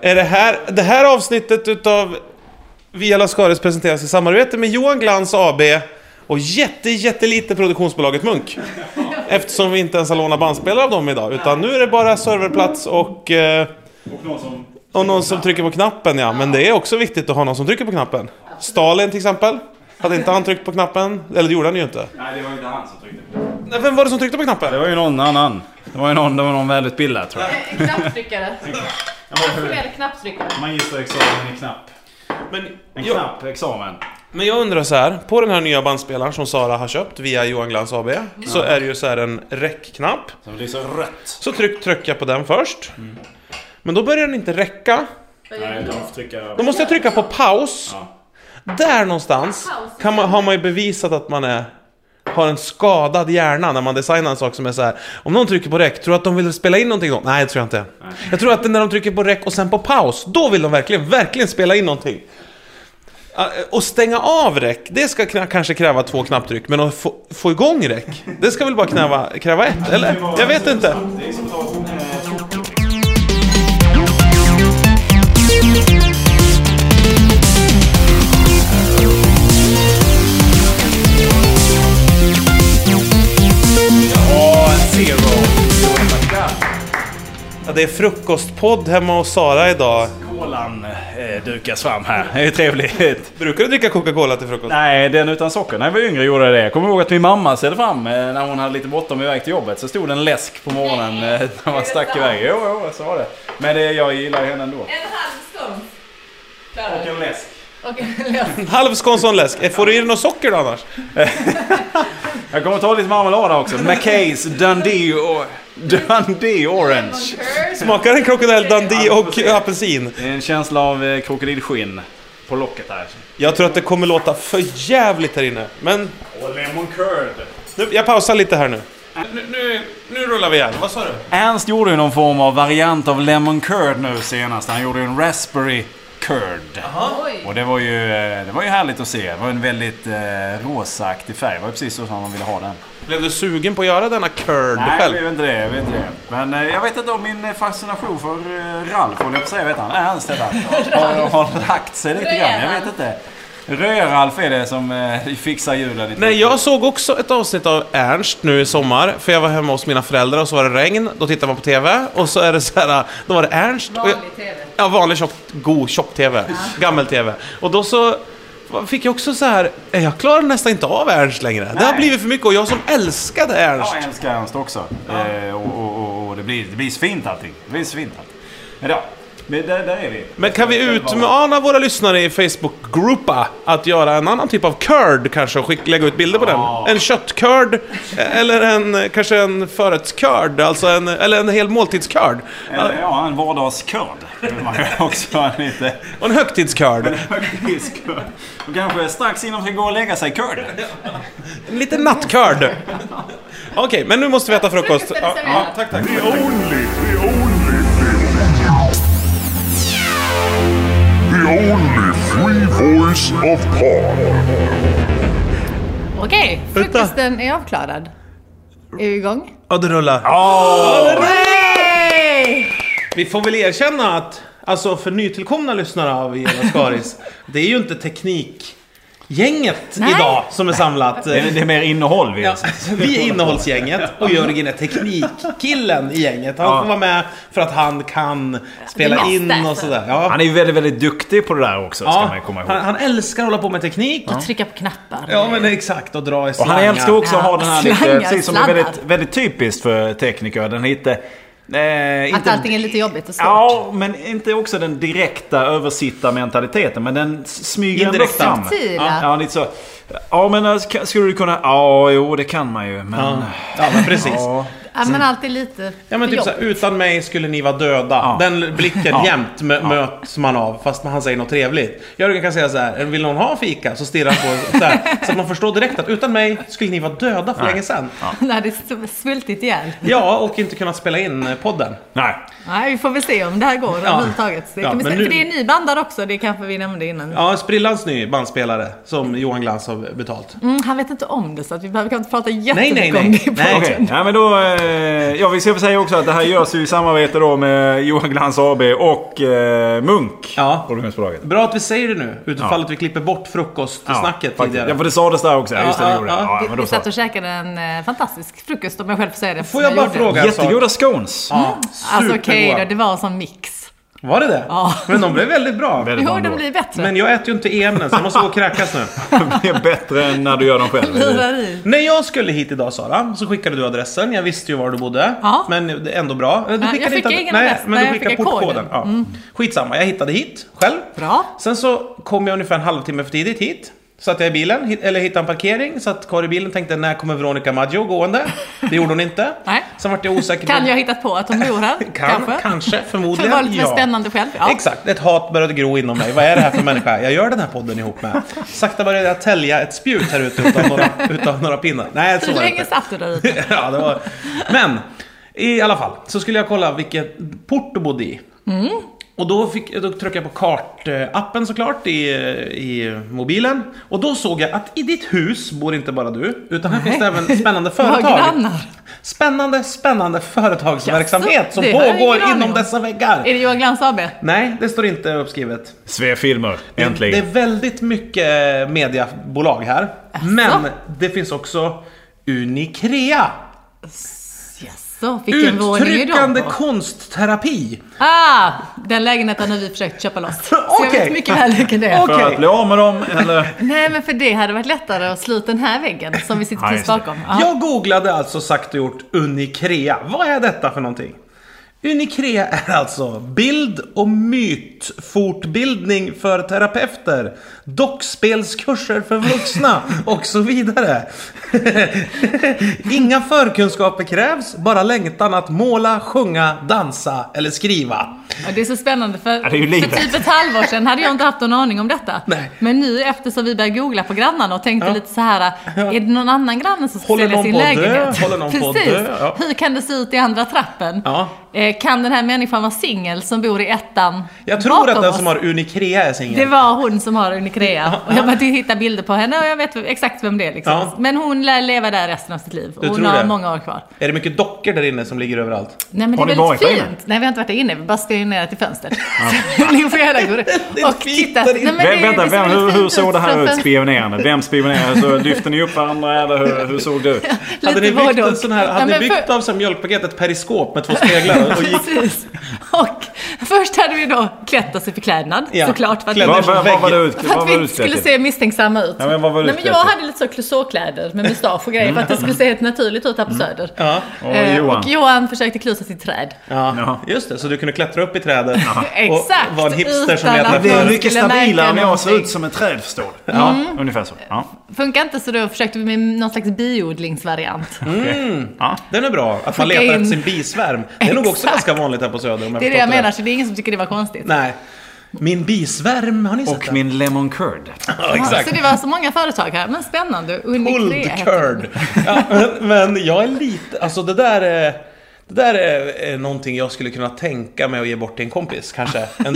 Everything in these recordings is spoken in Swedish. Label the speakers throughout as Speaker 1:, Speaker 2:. Speaker 1: Är det här, det här avsnittet utav Via Lascaris presenteras i samarbete med Johan Glans AB och jätte, jättelite produktionsbolaget Munk. Eftersom vi inte ens har lånat bandspelare av dem idag, utan nu är det bara serverplats och, eh,
Speaker 2: Och någon som...
Speaker 1: och någon som trycker på knappen ja. Men det är också viktigt att ha någon som trycker på knappen. Stalin till exempel. Hade inte han tryckt på knappen? Eller det gjorde han ju inte.
Speaker 2: Nej, det var inte han som tryckte på det.
Speaker 1: Nej, Vem var det som tryckte på knappen?
Speaker 2: Det var ju någon annan. Det var ju någon, det var någon välutbildad tror jag.
Speaker 3: En knapptryckare. Fler knapptryckare.
Speaker 2: Magisterexamen i knapp.
Speaker 1: Men,
Speaker 2: En
Speaker 1: jag,
Speaker 2: knapp examen.
Speaker 1: men jag undrar så här, på den här nya bandspelaren som Sara har köpt via Johan Glans AB så är det ju så här en räckknapp.
Speaker 2: Som lyser rött.
Speaker 1: Så tryck, trycker jag på den först. Men då börjar den inte räcka.
Speaker 2: Nej, jag får trycka...
Speaker 1: Då måste jag trycka på paus.
Speaker 2: Ja.
Speaker 1: Där någonstans
Speaker 3: Paus.
Speaker 1: kan man, har man ju bevisat att man är, har en skadad hjärna när man designar en sak som är så här. Om någon trycker på räck, tror du att de vill spela in någonting då? Nej, det tror jag inte. Jag tror att när de trycker på räck och sen på paus, då vill de verkligen, verkligen spela in någonting. Ah, Och stänga av räck, det ska kna- kanske kräva två knapptryck, men att få, få igång räck, det ska väl bara kräva, kräva ett, eller? Jag vet inte.
Speaker 2: Det är som att ta eh,
Speaker 1: Ja, det är frukostpodd hemma hos Sara idag.
Speaker 2: Kolan eh, dukas fram här. Det är ju trevligt.
Speaker 1: Brukar du dricka Coca-Cola till frukost?
Speaker 2: Nej, den utan socker. När jag var yngre gjorde jag det. Jag kommer ihåg att min mamma ställde fram eh, när hon hade lite bråttom iväg till jobbet. Så stod det en läsk på morgonen eh, när man stack iväg. Jo, jo, så var det. Men det, jag gillar henne ändå.
Speaker 3: En halv skum.
Speaker 2: Och en läsk.
Speaker 3: Och en lös.
Speaker 1: En halv skånsson läsk. Eh, Får du i dig något socker då annars?
Speaker 2: Jag kommer ta lite marmelad här också. Mackays Dundee, or- Dundee Orange.
Speaker 1: Smakar en krokodil Dundee och apelsin?
Speaker 2: Det är en känsla av eh, krokodilskinn på locket här.
Speaker 1: Jag tror att det kommer låta för jävligt här inne. Men
Speaker 2: Och lemon curd.
Speaker 1: nu, jag pausar lite här nu. Nu, nu, nu rullar vi igen. Vad sa du?
Speaker 2: Ernst gjorde ju någon form av variant av lemon curd nu senast. Han gjorde ju en raspberry curd.
Speaker 3: Oj.
Speaker 2: Och det var, ju, eh, det var ju härligt att se. Det var en väldigt eh, rosaaktig färg. Det var ju precis så som man ville ha den.
Speaker 1: Blev du sugen på att göra denna curd
Speaker 2: Nej, jag
Speaker 1: själv?
Speaker 2: vet inte det. Jag vet inte det. Men eh, jag vet inte om min eh, fascination för eh, Ralf, håller jag på att säga, vet han? Ernst heter han. Har, har lagt sig lite grann. Jag vet inte. Rör-Ralf är det som eh, fixar julen lite.
Speaker 1: Nej, jag såg också ett avsnitt av Ernst nu i sommar, för jag var hemma hos mina föräldrar och så var det regn, då tittar man på TV och så är det så här, då var det Ernst. och jag-
Speaker 3: Vanlig TV.
Speaker 1: Ja, vanlig tjock, god tjock-tv. Gammel-tv. Och då så fick jag också så här, "Eh, jag klarar nästan inte av Ernst längre. Det har
Speaker 2: Nej.
Speaker 1: blivit för mycket och jag som älskade Ernst.
Speaker 2: Ja, jag älskar Ernst också. Eh, och och, och, och det, blir, det blir svint allting. Det blir svint allting. Men ja, men där, där är vi.
Speaker 1: Men kan vi utmana våra lyssnare i Facebook-gruppa att göra en annan typ av curd kanske och skick, lägga ut bilder på
Speaker 2: Ja.
Speaker 1: den? En köttcurd eh, eller en, eh, kanske en förrättscurd, alltså en, eller en hel måltidscurd.
Speaker 2: Eller, Eh, ja, en vardagskörd. vill Man ju också ha lite
Speaker 1: Och en högtidscurd.
Speaker 2: högtidskörd. Och kanske strax innan man ska gå och lägga sig körd.
Speaker 1: En liten nattcurd. Okej, men nu måste vi äta frukost.
Speaker 3: Frukosten är
Speaker 1: Ja, ja,
Speaker 3: serverad.
Speaker 1: tack, tack.
Speaker 4: The only, the only thing. The only free voice of Pod.
Speaker 3: Okej, frukosten är avklarad. Är vi igång?
Speaker 1: Ja, det rullar.
Speaker 3: Hurray!
Speaker 1: Vi får väl erkänna att, alltså för nytillkomna lyssnare av Gela Skaris, det är ju inte teknikgänget
Speaker 3: Nej.
Speaker 1: idag som är samlat.
Speaker 2: Det är, det är mer innehåll vi
Speaker 1: Ja, Vi är innehållsgänget och Jörgen är teknikkillen i gänget. Han får vara med för att han kan spela
Speaker 3: Vi
Speaker 1: in
Speaker 3: måste.
Speaker 1: och sådär. Ja.
Speaker 2: Han är ju väldigt, väldigt duktig på det där också, ska man
Speaker 1: Ja,
Speaker 2: ju komma ihåg.
Speaker 1: han, han älskar att hålla på med teknik. Ja,
Speaker 3: Trycka på knappar.
Speaker 1: men exakt. Och dra i
Speaker 2: Och han
Speaker 1: slangar.
Speaker 2: älskar också att ha den här
Speaker 3: Slangar,
Speaker 2: lite, precis som är
Speaker 3: sladdar.
Speaker 2: väldigt, väldigt typiskt för tekniker, den är lite... Eh,
Speaker 3: Att
Speaker 2: inte,
Speaker 3: allting är lite jobbigt och svårt.
Speaker 2: Ja, men inte också den direkta översittarmentaliteten, men den s- smyger ändå
Speaker 1: Indirekta.
Speaker 2: fram.
Speaker 3: Subtila.
Speaker 2: Ja, ja, lite så. Ja, men alltså, ka- skulle du kunna... Ja, jo, det kan man ju, men...
Speaker 1: Ja, ja men precis.
Speaker 2: Ja.
Speaker 3: Ja, men alltid lite
Speaker 1: Ja men
Speaker 3: för
Speaker 1: typ
Speaker 3: jobb.
Speaker 1: såhär, utan mig skulle ni vara döda.
Speaker 2: Ja.
Speaker 1: Den blicken
Speaker 2: Ja.
Speaker 1: jämt mö- möts man av fast man- han säger något trevligt. Jörgen kan säga så här: vill någon ha fika? Så stirrar han på så, här, så att man förstår direkt att utan mig skulle ni vara döda för länge sedan. Ja.
Speaker 3: När det är svultit ihjäl.
Speaker 1: och inte kunnat spela in eh, podden.
Speaker 2: Nej.
Speaker 3: Nej, vi får väl se om det här går överhuvudtaget. Det
Speaker 1: Ja,
Speaker 3: kan vi
Speaker 1: men
Speaker 3: se.
Speaker 1: nu-
Speaker 3: För det är nybandad också, det kanske vi nämnde innan.
Speaker 1: Ja, Sprillans ny bandspelare som Johan Glans har betalt.
Speaker 3: Mm, han vet inte om det så att vi behöver kanske inte prata jättemycket
Speaker 1: nej,
Speaker 3: om
Speaker 1: nej.
Speaker 3: det i
Speaker 1: Nej.
Speaker 3: podden.
Speaker 2: Okej, ja, men då, eh, eh, ja, vi ska väl säga också att det här görs ju i samarbete då med Johan Glans AB och eh, Munk.
Speaker 1: Ja.
Speaker 2: Produktionsbolaget.
Speaker 1: Bra att vi säger det nu, utifall
Speaker 2: Ja.
Speaker 1: att vi klipper bort
Speaker 2: Ja,
Speaker 1: frukostsnacket
Speaker 2: faktiskt.
Speaker 1: tidigare.
Speaker 3: Mm.
Speaker 2: Ja, för det sades där också. Ja, just det,
Speaker 1: Ja,
Speaker 2: det gjorde
Speaker 1: ja,
Speaker 2: det.
Speaker 1: ja.
Speaker 2: Ja,
Speaker 3: Vi,
Speaker 2: men
Speaker 3: vi
Speaker 2: då
Speaker 3: satt
Speaker 2: så.
Speaker 3: och käkade en eh, fantastisk frukost om jag själv får säga det.
Speaker 1: Får jag
Speaker 3: som
Speaker 1: bara
Speaker 3: gjorde.
Speaker 1: fråga en sak?
Speaker 2: Jättegoda scones.
Speaker 1: Ja,
Speaker 3: Alltså okej
Speaker 1: supergoda.
Speaker 3: då, det var som mix.
Speaker 1: Var det det?
Speaker 3: Ja.
Speaker 1: Men de blev väldigt bra.
Speaker 2: Väldigt bra
Speaker 3: Jo,
Speaker 2: ändå.
Speaker 3: den blir bättre.
Speaker 1: Men jag äter ju inte EM än, så jag måste gå och kräkas nu.
Speaker 2: Det blir bättre än när du gör dem själv.
Speaker 3: Lurar i.
Speaker 1: När jag skulle hit idag Sara, så skickade du adressen. Jag visste ju var du bodde.
Speaker 3: Ja.
Speaker 1: Men det är ändå bra. Du
Speaker 3: jag fick ingen
Speaker 1: nej,
Speaker 3: adress,
Speaker 1: men
Speaker 3: nej,
Speaker 1: du
Speaker 3: jag
Speaker 1: skickade
Speaker 3: fick
Speaker 1: portkoden.
Speaker 3: koden.
Speaker 1: Ja. Skitsamma, jag hittade hit själv.
Speaker 3: Bra.
Speaker 1: Sen så kom jag ungefär en halvtimme för tidigt hit. Satt jag i bilen, hit- eller hittade en parkering, satt kvar i bilen tänkte när kommer Veronica Maggio gående? Det gjorde hon inte.
Speaker 3: Nej.
Speaker 1: Sen vart jag osäker. på-
Speaker 3: Kan jag ha hittat på att de bor här?
Speaker 1: Kan, kanske,
Speaker 3: Kan
Speaker 1: förmodligen.
Speaker 3: vara lite mer
Speaker 1: ja.
Speaker 3: spännande själv. Ja.
Speaker 1: Exakt, ett hat började gro inom mig. Vad är det här för människa jag gör den här podden ihop med? Sakta började jag tälja ett spjut här ute utav några, utav några pinnar. Nej, så
Speaker 3: Hur
Speaker 1: var det
Speaker 3: länge
Speaker 1: inte.
Speaker 3: satt du där ute?
Speaker 1: ja, det var... Men, i alla fall, så skulle jag kolla vilket port du bodde i.
Speaker 3: Mm.
Speaker 1: Och då, fick, då tryckte jag på kartappen såklart i, i mobilen. Och då såg jag att i ditt hus bor inte bara du, utan här finns det även spännande
Speaker 3: Våra
Speaker 1: företag.
Speaker 3: grannar.
Speaker 1: Spännande, spännande företagsverksamhet
Speaker 3: Jaså,
Speaker 1: som
Speaker 3: det har jag ingen
Speaker 1: pågår
Speaker 3: aning
Speaker 1: inom
Speaker 3: om.
Speaker 1: dessa väggar.
Speaker 3: Är det Johan Glans AB?
Speaker 1: Nej, det står inte uppskrivet.
Speaker 2: Svefilmer, äntligen.
Speaker 1: Det är väldigt mycket eh, mediebolag här. Men det finns också Unikrea.
Speaker 3: Jaså, vilken våning är de
Speaker 1: Uttryckande
Speaker 3: på?
Speaker 1: konstterapi.
Speaker 3: Ah, den lägenheten har vi försökt köpa loss. Så jag
Speaker 1: Okej.
Speaker 3: vet mycket väl vilken det är.
Speaker 1: Okej.
Speaker 2: För att bli av med dem, eller?
Speaker 3: Nej, men för det hade varit lättare att slå ut den här väggen som vi sitter
Speaker 2: Ja,
Speaker 3: precis
Speaker 2: just det.
Speaker 3: bakom. Ja.
Speaker 1: Jag googlade alltså sagt och gjort Unikrea. Vad är detta för någonting? Unikrea är alltså bild och mytfortbildning för terapeuter, dockspelskurser för vuxna och så vidare. Inga förkunskaper krävs, bara längtan att måla, sjunga, dansa eller skriva.
Speaker 3: Ja, det är så spännande för,
Speaker 2: det är ju
Speaker 3: för
Speaker 2: livet.
Speaker 3: typ ett halvår sedan hade jag inte haft någon aning om detta.
Speaker 1: Nej.
Speaker 3: Men nu eftersom vi började googla på grannarna och tänkte lite så här, är det någon annan granne som ska
Speaker 1: Håller
Speaker 3: sälja
Speaker 1: någon
Speaker 3: sin
Speaker 1: på att dö?
Speaker 3: lägenhet?
Speaker 1: Håller någon på att
Speaker 3: Precis.
Speaker 1: dö? Ja.
Speaker 3: Hur kan det se ut i andra trappen?
Speaker 1: Ja.
Speaker 3: Eh, Kan den här människan vara singel som bor i ettan
Speaker 1: Jag tror
Speaker 3: bakom
Speaker 1: att den
Speaker 3: oss?
Speaker 1: som har Unikrea är
Speaker 3: Det
Speaker 1: singel.
Speaker 3: var hon som har Unicrea. Och jag började hitta bilder på henne och jag vet exakt vem det är. Liksom.
Speaker 1: Ja.
Speaker 3: Men hon lär leva där resten av sitt liv.
Speaker 1: Du
Speaker 3: Och hon
Speaker 1: tror
Speaker 3: har
Speaker 1: det?
Speaker 3: många år kvar.
Speaker 1: Är det mycket dockor där inne som ligger överallt?
Speaker 3: Nej men
Speaker 2: Har
Speaker 3: det är
Speaker 2: ni varit
Speaker 3: väldigt
Speaker 2: där
Speaker 3: fint.
Speaker 2: inne?
Speaker 3: Nej vi har inte varit där inne, vi bara stirrade ner till fönstret. Så Leo får göra går
Speaker 1: är
Speaker 3: och
Speaker 1: fint
Speaker 3: titta.
Speaker 1: där
Speaker 3: Nej,
Speaker 1: inne.
Speaker 3: men
Speaker 2: Vem,
Speaker 3: det-
Speaker 2: vänta,
Speaker 3: det
Speaker 2: vem, hur,
Speaker 3: ser väldigt
Speaker 2: hur
Speaker 3: fint
Speaker 2: såg det här
Speaker 3: från
Speaker 2: ut?
Speaker 3: fönstret.
Speaker 2: Spionerande? Vem spionerade? Så lyfte ni upp varandra eller hur, hur såg det ut?
Speaker 1: Hade ni
Speaker 3: Lite
Speaker 1: byggt,
Speaker 3: både och.
Speaker 1: en sån här,
Speaker 3: Ja,
Speaker 1: hade
Speaker 3: men
Speaker 1: ni byggt
Speaker 3: för-
Speaker 1: av som mjölkpaket ett periskop med två speglar? Och gick,
Speaker 3: Precis. Och först hade vi då klätt oss i förklädnad,
Speaker 1: Ja.
Speaker 3: såklart. För att,
Speaker 1: Klädd-
Speaker 2: Vad, vad, vad var det ut?
Speaker 3: för
Speaker 2: Vad
Speaker 3: att
Speaker 2: var
Speaker 3: vi
Speaker 2: det
Speaker 3: inte skulle
Speaker 2: utklätt till?
Speaker 3: se misstänksamma ut.
Speaker 2: Ja, men vad var det
Speaker 3: Nej, men jag
Speaker 2: utklätt till? Mm.
Speaker 3: hade lite så klusåkläder med mustasch och grejer för att det skulle se helt naturligt ut här på Söder.
Speaker 1: ja.
Speaker 2: Och
Speaker 3: Eh,
Speaker 2: Johan?
Speaker 3: Och Johan försökte klusa sitt träd.
Speaker 1: Ja,
Speaker 2: Ja.
Speaker 1: just det. Så du kunde klättra upp i trädet
Speaker 3: Exakt,
Speaker 1: och vara en hipster som
Speaker 3: utan
Speaker 1: letade
Speaker 3: att-
Speaker 2: Det är
Speaker 1: efter...
Speaker 2: mycket
Speaker 3: Skulle
Speaker 2: stabilare
Speaker 3: märka
Speaker 2: om jag ser
Speaker 3: någonting. Mm.
Speaker 2: ut som ett träd förstår du. Ja, ungefär så. Ja.
Speaker 3: Funkar inte så då försökte vi med någon slags biodlingsvariant.
Speaker 2: Mm. Ja.
Speaker 1: Den är bra, att man
Speaker 3: Skicka
Speaker 1: letar efter
Speaker 3: in-
Speaker 1: sin bisvärm. Det är nog också
Speaker 3: Exakt.
Speaker 1: ganska vanligt här på Söder om jag
Speaker 3: Det är det jag
Speaker 1: förstått
Speaker 3: menar, så det är ingen som tycker det var konstigt.
Speaker 1: Nej. Min bisvärm, har ni sett
Speaker 2: Och
Speaker 1: den?
Speaker 2: min lemon curd.
Speaker 1: Ja,
Speaker 3: Ja,
Speaker 1: exakt.
Speaker 3: Så det var så många företag här, men spännande. Unicrea
Speaker 1: Pulled
Speaker 3: heter det.
Speaker 1: curd. Ja, men, men jag är lite, alltså det där är... Det där är eh, någonting jag skulle kunna tänka mig att ge bort till en kompis kanske. En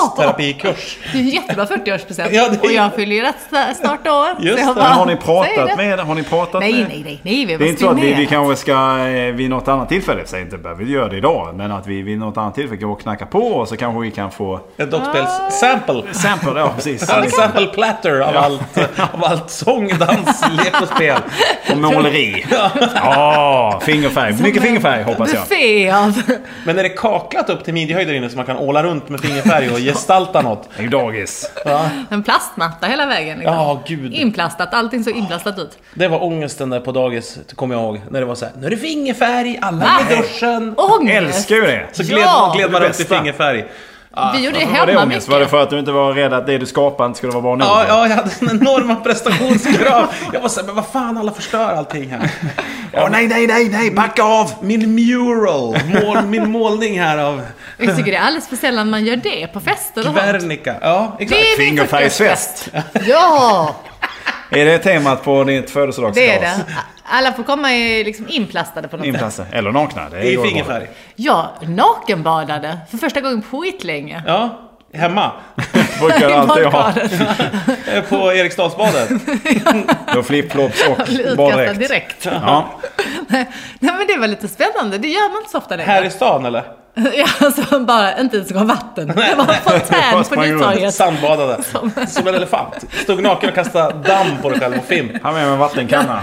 Speaker 1: dockspelsterapikurs.
Speaker 3: Det är en jättebra 40-årspresent.
Speaker 1: Ja, det är-
Speaker 3: Och jag fyller ju rätt sta- snart år.
Speaker 1: Just
Speaker 3: så jag
Speaker 1: det.
Speaker 2: Men har ni
Speaker 3: säger det.
Speaker 2: pratat med... Har ni pratat
Speaker 3: Nej,
Speaker 2: med...
Speaker 3: nej, nej. nej vi
Speaker 2: Det är inte så att vi, vi
Speaker 3: kan...
Speaker 2: kanske ska eh, vid något annat tillfälle, säg inte behöver vi göra det idag, men att vi vid något annat tillfälle kan knacka på och så kanske vi kan få
Speaker 1: En
Speaker 3: Ah.
Speaker 1: dockspels-sample.
Speaker 2: sample. Ja, precis.
Speaker 1: En sample platter av allt, av allt sång, dans, lek och spel.
Speaker 2: Och måleri. Ja, fingerfärg. Mycket fingerfärg hoppas jag.
Speaker 3: Buffé av...
Speaker 1: Men är det kaklat upp till midjehöjd där inne så man kan åla runt med fingerfärg och gestalta något?
Speaker 2: Det är ju dagis.
Speaker 3: En plastmatta hela vägen. Liksom.
Speaker 1: Ja, gud.
Speaker 3: Inplastat. Allting så inplastat ut.
Speaker 1: Det var ångesten där på dagis, kommer jag ihåg. När det var så här: nu är det fingerfärg, alla
Speaker 3: Va?
Speaker 1: är i duschen.
Speaker 3: Ångest!
Speaker 2: Älskar ju det.
Speaker 1: Så gled,
Speaker 3: Ja.
Speaker 1: gled man
Speaker 2: Det
Speaker 1: runt i
Speaker 2: bästa.
Speaker 1: fingerfärg.
Speaker 3: Vi gjorde det
Speaker 2: Alltså, Var det
Speaker 3: hemma
Speaker 2: ångest?
Speaker 3: mycket.
Speaker 2: Var det för att du inte var rädd att det du skapade inte skulle vara bra nog?
Speaker 1: Ja, ja, jag hade en enorma prestationskrav. Jag var såhär, men vad fan, alla förstör allting här.
Speaker 2: Åh, nej, nej, nej, nej, backa av!
Speaker 1: Min mural, mål, min målning här av
Speaker 3: Jag tycker det är alldeles för sällan man gör det på fester och sånt.
Speaker 1: Guernica. Ja, exakt.
Speaker 3: Det är min
Speaker 2: Fingerfärgsfest.
Speaker 3: 40-årsfest. Ja!
Speaker 2: Är det temat på ditt födelsedagskalas?
Speaker 3: Det är det. Alla får komma i, liksom inplastade på något sätt.
Speaker 2: Inplastad. Eller nakna. Det
Speaker 1: I
Speaker 2: går bra.
Speaker 1: fingerfärg.
Speaker 3: Ja, nakenbadade för första gången på skitlänge.
Speaker 1: Ja, hemma.
Speaker 2: Brukar
Speaker 3: I
Speaker 2: alltid ha.
Speaker 3: badkaret.
Speaker 1: Eh, På Eriksdalsbadet.
Speaker 2: Då flipflops och
Speaker 3: Utkastad
Speaker 2: baddräkt.
Speaker 3: direkt.
Speaker 2: Ja.
Speaker 3: Nej men det var lite spännande, det gör man inte så ofta längre.
Speaker 1: Här i stan eller?
Speaker 3: Ja, alltså man bara inte ens gav vatten. Det var en
Speaker 2: Bara
Speaker 3: fontän på
Speaker 2: sprang runt.
Speaker 3: Nytorget.
Speaker 1: Sandbadade. Som en elefant. Stod naken och kastade damm på dig själv och film.
Speaker 2: Han med en vattenkanna.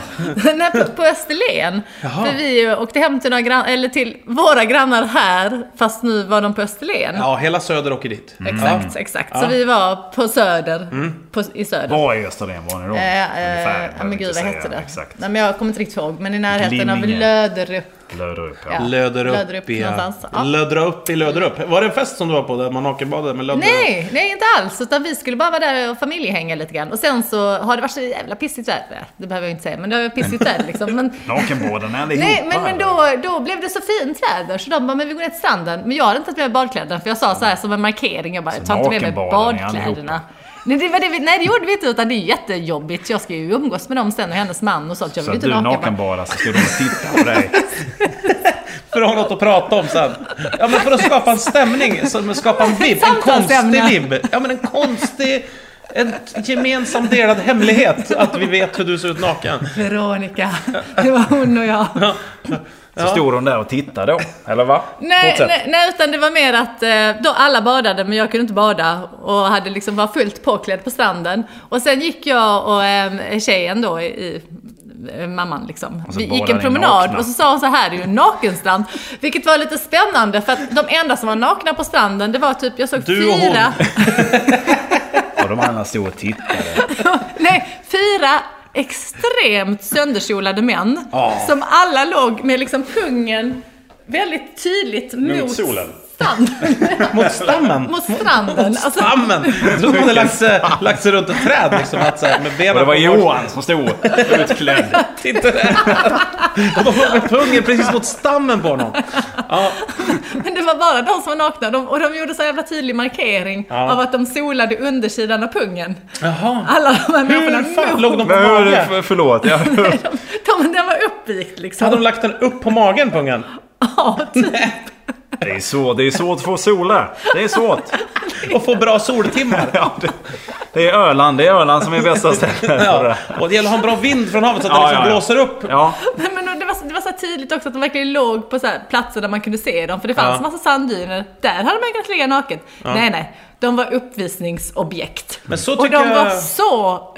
Speaker 3: Nej, på, på Österlen. För vi åkte hem till, några grann, eller till våra grannar här, fast nu var de på Österlen.
Speaker 1: Ja, hela Söder åker dit.
Speaker 2: Mm.
Speaker 3: Exakt, exakt. Så vi var på Söder, på, i Söder.
Speaker 2: Var är Österlen var ni då?
Speaker 3: Eh, eh,
Speaker 2: Ungefär, jag
Speaker 3: ja,
Speaker 2: vill
Speaker 3: men gud,
Speaker 2: inte
Speaker 3: vad hette
Speaker 2: säga
Speaker 3: det?
Speaker 2: Exakt.
Speaker 3: Nej, men jag kommer inte riktigt ihåg, men i närheten av
Speaker 2: Glimminge.
Speaker 3: Löderup.
Speaker 2: Löderup, ja.
Speaker 3: Ja.
Speaker 1: Löder upp,
Speaker 3: Löderup
Speaker 1: i...
Speaker 3: någonstans, ja.
Speaker 1: Lödra upp i Löder upp. Var det en fest som du var på där man nakenbadade med Löder upp?
Speaker 3: Nej, nej inte alls. Utan vi skulle bara vara där och familjehänga lite grann. Och sen så har det varit så jävla pissigt väder. Det behöver jag inte säga, men det har varit pissigt väder liksom. Men,
Speaker 2: Nakenbåden allihopa.
Speaker 3: nej, men, men
Speaker 2: eller?
Speaker 3: då, då blev det så fint väder så de bara, men vi går ner till stranden. Men jag hade inte tagit med badkläderna för jag sa så här som en markering, jag bara, jag tar inte med mig
Speaker 2: nakenbadar ni allihopa?
Speaker 3: badkläderna. Nej det, var det, vi- nej det gjorde vi inte utan det är jättejobbigt. Jag ska ju umgås med dem sen och hennes man och sånt. Jag
Speaker 2: Så
Speaker 3: vill
Speaker 2: att
Speaker 3: inte
Speaker 2: du
Speaker 3: nakenbada.
Speaker 2: nakenbadar så ska de titta på dig.
Speaker 1: För att ha något att prata om sen. Ja, men för att skapa en stämning, som- skapa en vibb. En konstig
Speaker 3: Samtalsämne.
Speaker 1: vibb. Ja, men en konstig... En gemensam delad hemlighet. Att vi vet hur du ser ut naken.
Speaker 3: Veronica, det var hon och jag.
Speaker 2: Så stod de där och tittade då, eller va?
Speaker 3: Nej,
Speaker 2: Fortsätt.
Speaker 3: nej, nej, utan det var mer att eh, då alla badade men jag kunde inte bada och hade liksom var fullt påklädd på stranden. Och sen gick jag och eh, tjejen då, i, i, eh, mamman liksom,
Speaker 2: Och så
Speaker 3: vi gick
Speaker 2: badade
Speaker 3: en
Speaker 2: ni
Speaker 3: promenad
Speaker 2: nakna.
Speaker 3: och så sa hon så här, det är ju en nakenstrand. Vilket var lite spännande för att de enda som var nakna på stranden det var typ, jag såg
Speaker 1: Du och
Speaker 3: fyra,
Speaker 2: Och de andra stod och tittade.
Speaker 3: nej, fyra extremt sönderkjolade män som alla låg med liksom pungen väldigt tydligt mot,
Speaker 2: solen.
Speaker 3: stranden.
Speaker 1: Mot stammen.
Speaker 3: Mot stranden. Alltså,
Speaker 1: Stammen! Jag trodde de hade lagt sig, lagt sig runt ett träd liksom. Att, så här, med benen
Speaker 2: Och det var
Speaker 1: på
Speaker 2: Johan som stod utklädd.
Speaker 1: Titta där! Och de låg med pungen precis mot stammen på honom.
Speaker 3: men det var bara de som var nakna de, och de gjorde så jävla tydlig markering
Speaker 1: Ja.
Speaker 3: av att de solade undersidan av pungen.
Speaker 1: Jaha.
Speaker 3: Alla de här människorna
Speaker 1: Hur fan
Speaker 3: mot-
Speaker 1: låg de på
Speaker 2: Men hur,
Speaker 1: magen?
Speaker 2: för- förlåt, jag
Speaker 3: de, de, den var uppvikt liksom.
Speaker 1: Hade de lagt den upp på magen, pungen?
Speaker 3: Ja, typ.
Speaker 2: Det är svårt, det är svårt att få sola. Det är svårt.
Speaker 1: Och få bra soltimmar?
Speaker 2: Ja, det, det är Öland, det är Öland som är bästa stället för
Speaker 1: Ja.
Speaker 2: det.
Speaker 1: Och det gäller att ha en bra vind från havet så att
Speaker 2: Ja,
Speaker 1: den liksom
Speaker 2: ja, ja.
Speaker 1: blåser upp.
Speaker 2: Ja,
Speaker 3: Nej, men det, var, så- det var så här tydligt också att de verkligen låg på så här platser där man kunde se dem. För det fanns
Speaker 1: Ja.
Speaker 3: massa sanddyner. Där hade man kunnat ligga naket. Nej, nej. De var uppvisningsobjekt.
Speaker 1: Men så
Speaker 3: och
Speaker 1: tycker
Speaker 3: de var
Speaker 1: jag-
Speaker 3: så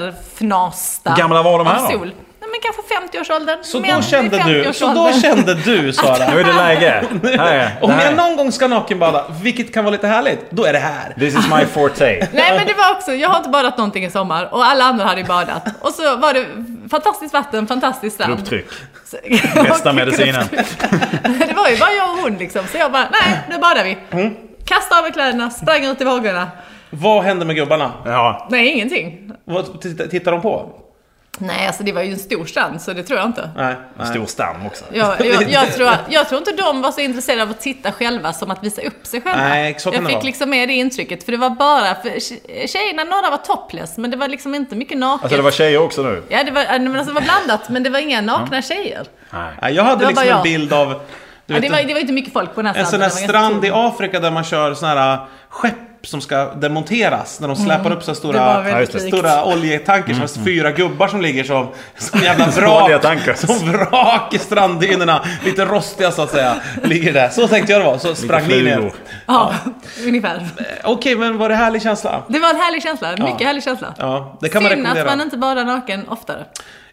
Speaker 3: sönderfnasta
Speaker 2: Hur gamla var de här
Speaker 3: av
Speaker 2: då?
Speaker 3: sol. Nej, men kanske 50-årsåldern.
Speaker 1: Så
Speaker 3: Män
Speaker 1: då
Speaker 3: i
Speaker 1: kände du, så då
Speaker 3: 50-årsåldern.
Speaker 1: kände du Sara.
Speaker 2: nu är det läge. Här är,
Speaker 1: Om
Speaker 2: det här
Speaker 1: jag
Speaker 2: är.
Speaker 1: någon gång ska nakenbada, vilket kan vara lite härligt, då är det här.
Speaker 2: This is my forte.
Speaker 3: Nej men det var också, jag har inte badat någonting i sommar och alla andra hade ju badat. Och så var det fantastiskt vatten, fantastisk strand.
Speaker 2: Grupptryck.
Speaker 3: Så-
Speaker 2: Bästa medicinen.
Speaker 3: det var ju bara jag och hon liksom, så jag bara, nej nu badar vi.
Speaker 2: Mm.
Speaker 3: Kastade av mig kläderna, sprang ut i vågorna.
Speaker 1: Vad hände med gubbarna?
Speaker 2: Ja,
Speaker 3: Nej, ingenting.
Speaker 1: Vad titt- Tittar de på?
Speaker 3: Nej, alltså det var ju en stor strand så det tror jag inte.
Speaker 1: Nej.
Speaker 2: en stor stam också.
Speaker 3: Jag, jag, jag, tror, jag tror inte de var så intresserade av att titta själva som att visa upp sig själva.
Speaker 1: Nej, så kan
Speaker 3: jag
Speaker 1: det
Speaker 3: fick
Speaker 1: vara.
Speaker 3: liksom med det intrycket, för det var bara, för tje- tjejerna, några var topless, men det var liksom inte mycket naket.
Speaker 2: Alltså det var tjejer också nu.
Speaker 3: Ja, det var, ja, men alltså, det var blandat, men det var inga nakna tjejer.
Speaker 2: Nej.
Speaker 1: Nej, Jag hade
Speaker 3: Det var
Speaker 1: liksom
Speaker 3: bara
Speaker 1: en
Speaker 3: jag.
Speaker 1: bild av... Du
Speaker 3: Ja, det,
Speaker 1: vet,
Speaker 3: var, det var inte mycket folk på den här
Speaker 1: en sån
Speaker 3: stranden.
Speaker 1: här
Speaker 3: det var ganska
Speaker 1: strand i Afrika där man kör såna här äh, skepp som ska demonteras. När de släpar upp så här
Speaker 3: Mm. Det var
Speaker 1: stora...
Speaker 2: Ja, just
Speaker 3: väldigt
Speaker 2: det.
Speaker 3: likt.
Speaker 1: Stora oljetankers med fyra gubbar som ligger som, som jävla
Speaker 2: Som oljetankar.
Speaker 1: vrak. som vrak i stranddynorna. Lite rostiga så att säga. Ligger där. Så tänkte jag det var. Så sprang ni ner.
Speaker 2: flugor.
Speaker 3: Ja, ungefär.
Speaker 1: Okej, men var det härlig känsla?
Speaker 3: Det var en härlig känsla. Mycket härlig känsla.
Speaker 1: Ja, det kan man
Speaker 3: Synd att
Speaker 1: rekommendera.
Speaker 3: man inte badar naken oftare.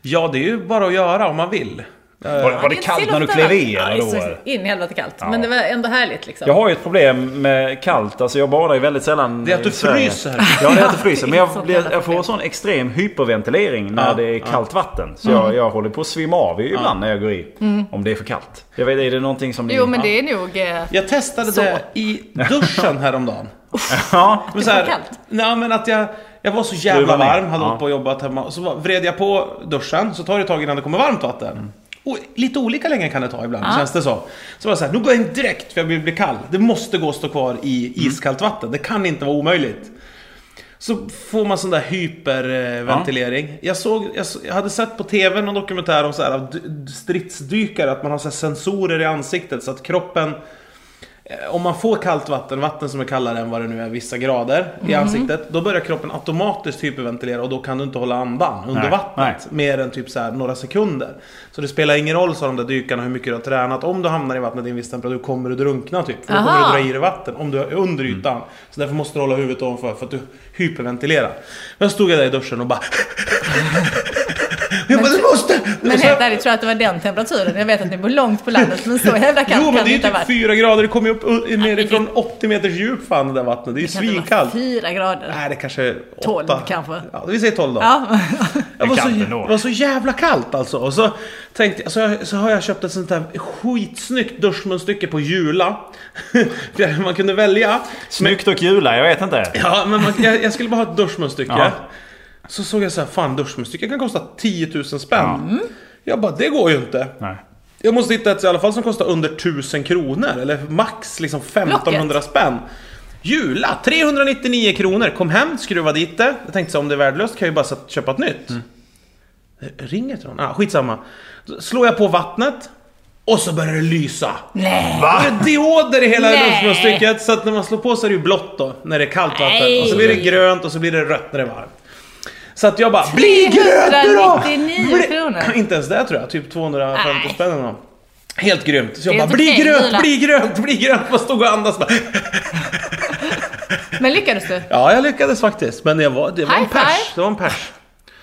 Speaker 1: Ja, det är ju bara att göra om man vill.
Speaker 2: Var, var det kallt när du klev i eller
Speaker 3: då?
Speaker 2: då?
Speaker 3: In i helvete kallt.
Speaker 2: Ja.
Speaker 3: Men det var ändå härligt liksom.
Speaker 2: Jag har ju ett problem med kallt, alltså jag badar ju väldigt sällan
Speaker 1: Det är att du
Speaker 2: i Sverige.
Speaker 1: fryser.
Speaker 2: Ja, det är att du fryser. Men jag,
Speaker 3: Sånt
Speaker 2: blir,
Speaker 3: jävla
Speaker 2: jag får
Speaker 3: problem.
Speaker 2: sån extrem hyperventilering när
Speaker 1: Ja,
Speaker 2: det är kallt vatten. Så
Speaker 3: Mm.
Speaker 2: jag, jag håller på att svimma av ju ibland när jag går i. Om det är för kallt. Jag vet, är det någonting som ni...
Speaker 3: Jo men det är nog... Eh,
Speaker 1: Jag testade
Speaker 3: Så.
Speaker 1: det i duschen häromdagen.
Speaker 2: Ja.
Speaker 1: Men
Speaker 3: Det
Speaker 1: så
Speaker 3: var
Speaker 1: här,
Speaker 3: kallt.
Speaker 1: Nej, men att jag, jag var så jävla
Speaker 2: Skruva ner.
Speaker 1: varm, hade
Speaker 2: Ja.
Speaker 1: hållit på och jobbat hemma. Och så var- vred jag på duschen, så tar det ett tag innan det kommer varmt vatten. Och lite olika länge kan det ta ibland, känns det så. Så var jag så här, nu går jag in direkt för jag vill bli kall. Det måste gå att stå kvar i iskallt vatten, det kan inte vara omöjligt. Så får man sån där hyperventilering. Jag, såg, jag, så- jag hade sett på TV någon dokumentär om så här, av d- d- stridsdykare, att man har så här sensorer i ansiktet så att kroppen eh, om man får kallt vatten, vatten som är kallare än vad det nu är, vissa grader
Speaker 2: Mhm.
Speaker 1: i ansiktet. Då börjar kroppen automatiskt hyperventilera och då kan du inte hålla andan under
Speaker 2: Nej,
Speaker 1: vattnet. Mer än typ så här några sekunder. Så det spelar ingen roll, sa de där dykarna, hur mycket du har tränat. Om du hamnar i vattnet i en viss temperatur kommer du drunkna typ. För då kommer du
Speaker 5: Aha.
Speaker 1: dra i dig vatten om du är under ytan. Så därför måste du hålla huvudet ovanför för att du hyperventilerar. Men stod jag där i duschen och bara... jag bara, du måste!
Speaker 3: Men
Speaker 1: Och sen-
Speaker 3: helt ärligt, tror jag att det var den temperaturen? Jag vet att ni bor långt på landet, men så jävla kallt
Speaker 1: Jo men
Speaker 3: kan
Speaker 1: det är ju
Speaker 3: inte ha
Speaker 1: typ
Speaker 3: varit.
Speaker 1: 4 grader, det kommer ju upp u- nerifrån
Speaker 3: det
Speaker 1: 80 meters djup fan det där vattnet. Det är ju
Speaker 3: Kan det vara
Speaker 1: svinkallt.
Speaker 3: Fyra grader.
Speaker 1: Nej det kanske är
Speaker 3: 12
Speaker 1: åtta.
Speaker 3: kanske.
Speaker 1: Ja, vi säger 12 då.
Speaker 3: Ja.
Speaker 1: Det var, så,
Speaker 2: kallt ändå.
Speaker 1: det var så jävla kallt alltså. Och så, tänkte, jag- så, jag, så har jag köpt ett sånt här skitsnyggt duschmunstycke på Jula. För man kunde välja.
Speaker 2: Snyggt och jula, jag vet inte.
Speaker 1: Ja, men man, jag, jag skulle bara ha ett duschmunstycke.
Speaker 2: Ja.
Speaker 1: Så såg jag så här, fan duschmunstycke kan kosta 10 000 spänn. Jag bara, det går ju inte.
Speaker 2: Nej.
Speaker 1: Jag måste hitta ett i alla fall som kostar under 1000 kronor eller max liksom 1500 spänn. Jula, 399 kronor. Kom hem, skruva dit det. Jag tänkte så här, om det är värdelöst kan jag ju bara sätta- köpa ett nytt. Ringer till någon? Ah, skitsamma. Så slår jag på vattnet och så börjar det lysa.
Speaker 3: Nej.
Speaker 1: Va? Det är dioder i hela
Speaker 3: Nej.
Speaker 1: luftmunstycket så att när man slår på så är det ju blått då när det är kallt vatten.
Speaker 3: Nej.
Speaker 1: Och så blir det grönt och så blir det rött när det är varmt. Så att jag bara BLI GRÖTE DÅ!
Speaker 3: 399
Speaker 1: Bli-
Speaker 3: kronor.
Speaker 1: Inte ens det tror jag, typ 250
Speaker 3: Nej.
Speaker 1: spänn eller något. Helt grymt. Så jag
Speaker 3: Det är
Speaker 1: bara BLI
Speaker 3: inte okej,
Speaker 1: GRÖNT,
Speaker 3: Julia."
Speaker 1: BLI GRÖNT, BLI GRÖNT! Bara stod och andas bara.
Speaker 3: Men lyckades du?
Speaker 1: Ja, jag lyckades faktiskt. Men jag var, det var en
Speaker 3: High five.
Speaker 1: pers. Det var en pers.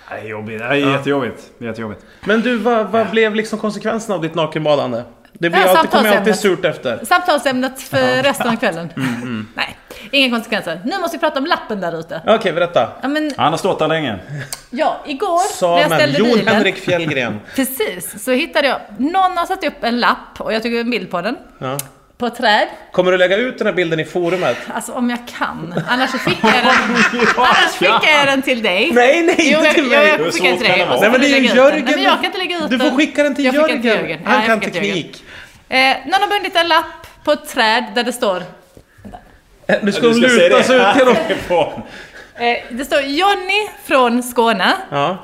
Speaker 2: Det är jobbigt. Det är jättejobbigt. Det är jättejobbigt.
Speaker 1: Men du, vad, vad blev liksom konsekvenserna av ditt nakenbadande? Det, blir
Speaker 3: Ja,
Speaker 1: alltid, kommer alltid
Speaker 3: samtalsämnet.
Speaker 1: surt efter.
Speaker 3: Samtalsämnet för resten av kvällen.
Speaker 1: Mm,
Speaker 3: Nej, inga konsekvenser. Nu måste vi prata om lappen där ute.
Speaker 1: Okej, berätta.
Speaker 3: Ja, men
Speaker 2: Han har stått där länge.
Speaker 3: ja, igår när jag
Speaker 1: Samen,
Speaker 3: ställde
Speaker 1: Jon
Speaker 3: bilen.
Speaker 1: Henrik Fjällgren.
Speaker 3: Precis, så hittade jag. Någon har satt upp en lapp och jag tog en bild på den.
Speaker 1: Ja.
Speaker 3: På ett träd.
Speaker 1: Kommer du lägga ut den här bilden i forumet?
Speaker 3: Alltså om jag kan. Annars så skickar jag den, annars skickar jag den till dig.
Speaker 1: Nej, nej,
Speaker 3: Jo,
Speaker 1: inte
Speaker 3: jag,
Speaker 1: till
Speaker 3: jag,
Speaker 1: mig!
Speaker 3: jag
Speaker 2: Så
Speaker 3: skickar den till
Speaker 2: kan
Speaker 3: dig.
Speaker 2: det vara.
Speaker 3: och så
Speaker 1: Nej
Speaker 3: får
Speaker 1: men det är
Speaker 3: du
Speaker 1: ju
Speaker 3: lägga ut den.
Speaker 1: Jörgen!
Speaker 3: Nej, men jag kan inte lägga ut
Speaker 1: Du
Speaker 3: den.
Speaker 1: får skicka den till
Speaker 3: jag skickar den
Speaker 1: Jörgen!
Speaker 3: till Jörgen. Ja,
Speaker 1: Han
Speaker 3: jag
Speaker 1: kan
Speaker 3: skickar till Jörgen.
Speaker 1: teknik.
Speaker 3: Eh, någon har bundit en lapp på ett träd där det står
Speaker 1: Eh, Nu ska
Speaker 2: Du
Speaker 1: hon
Speaker 2: ska se
Speaker 1: luta
Speaker 2: det
Speaker 1: sig ut genom...
Speaker 2: härifrån.
Speaker 3: Eh, det står Jonny från Skåne.
Speaker 1: Ja.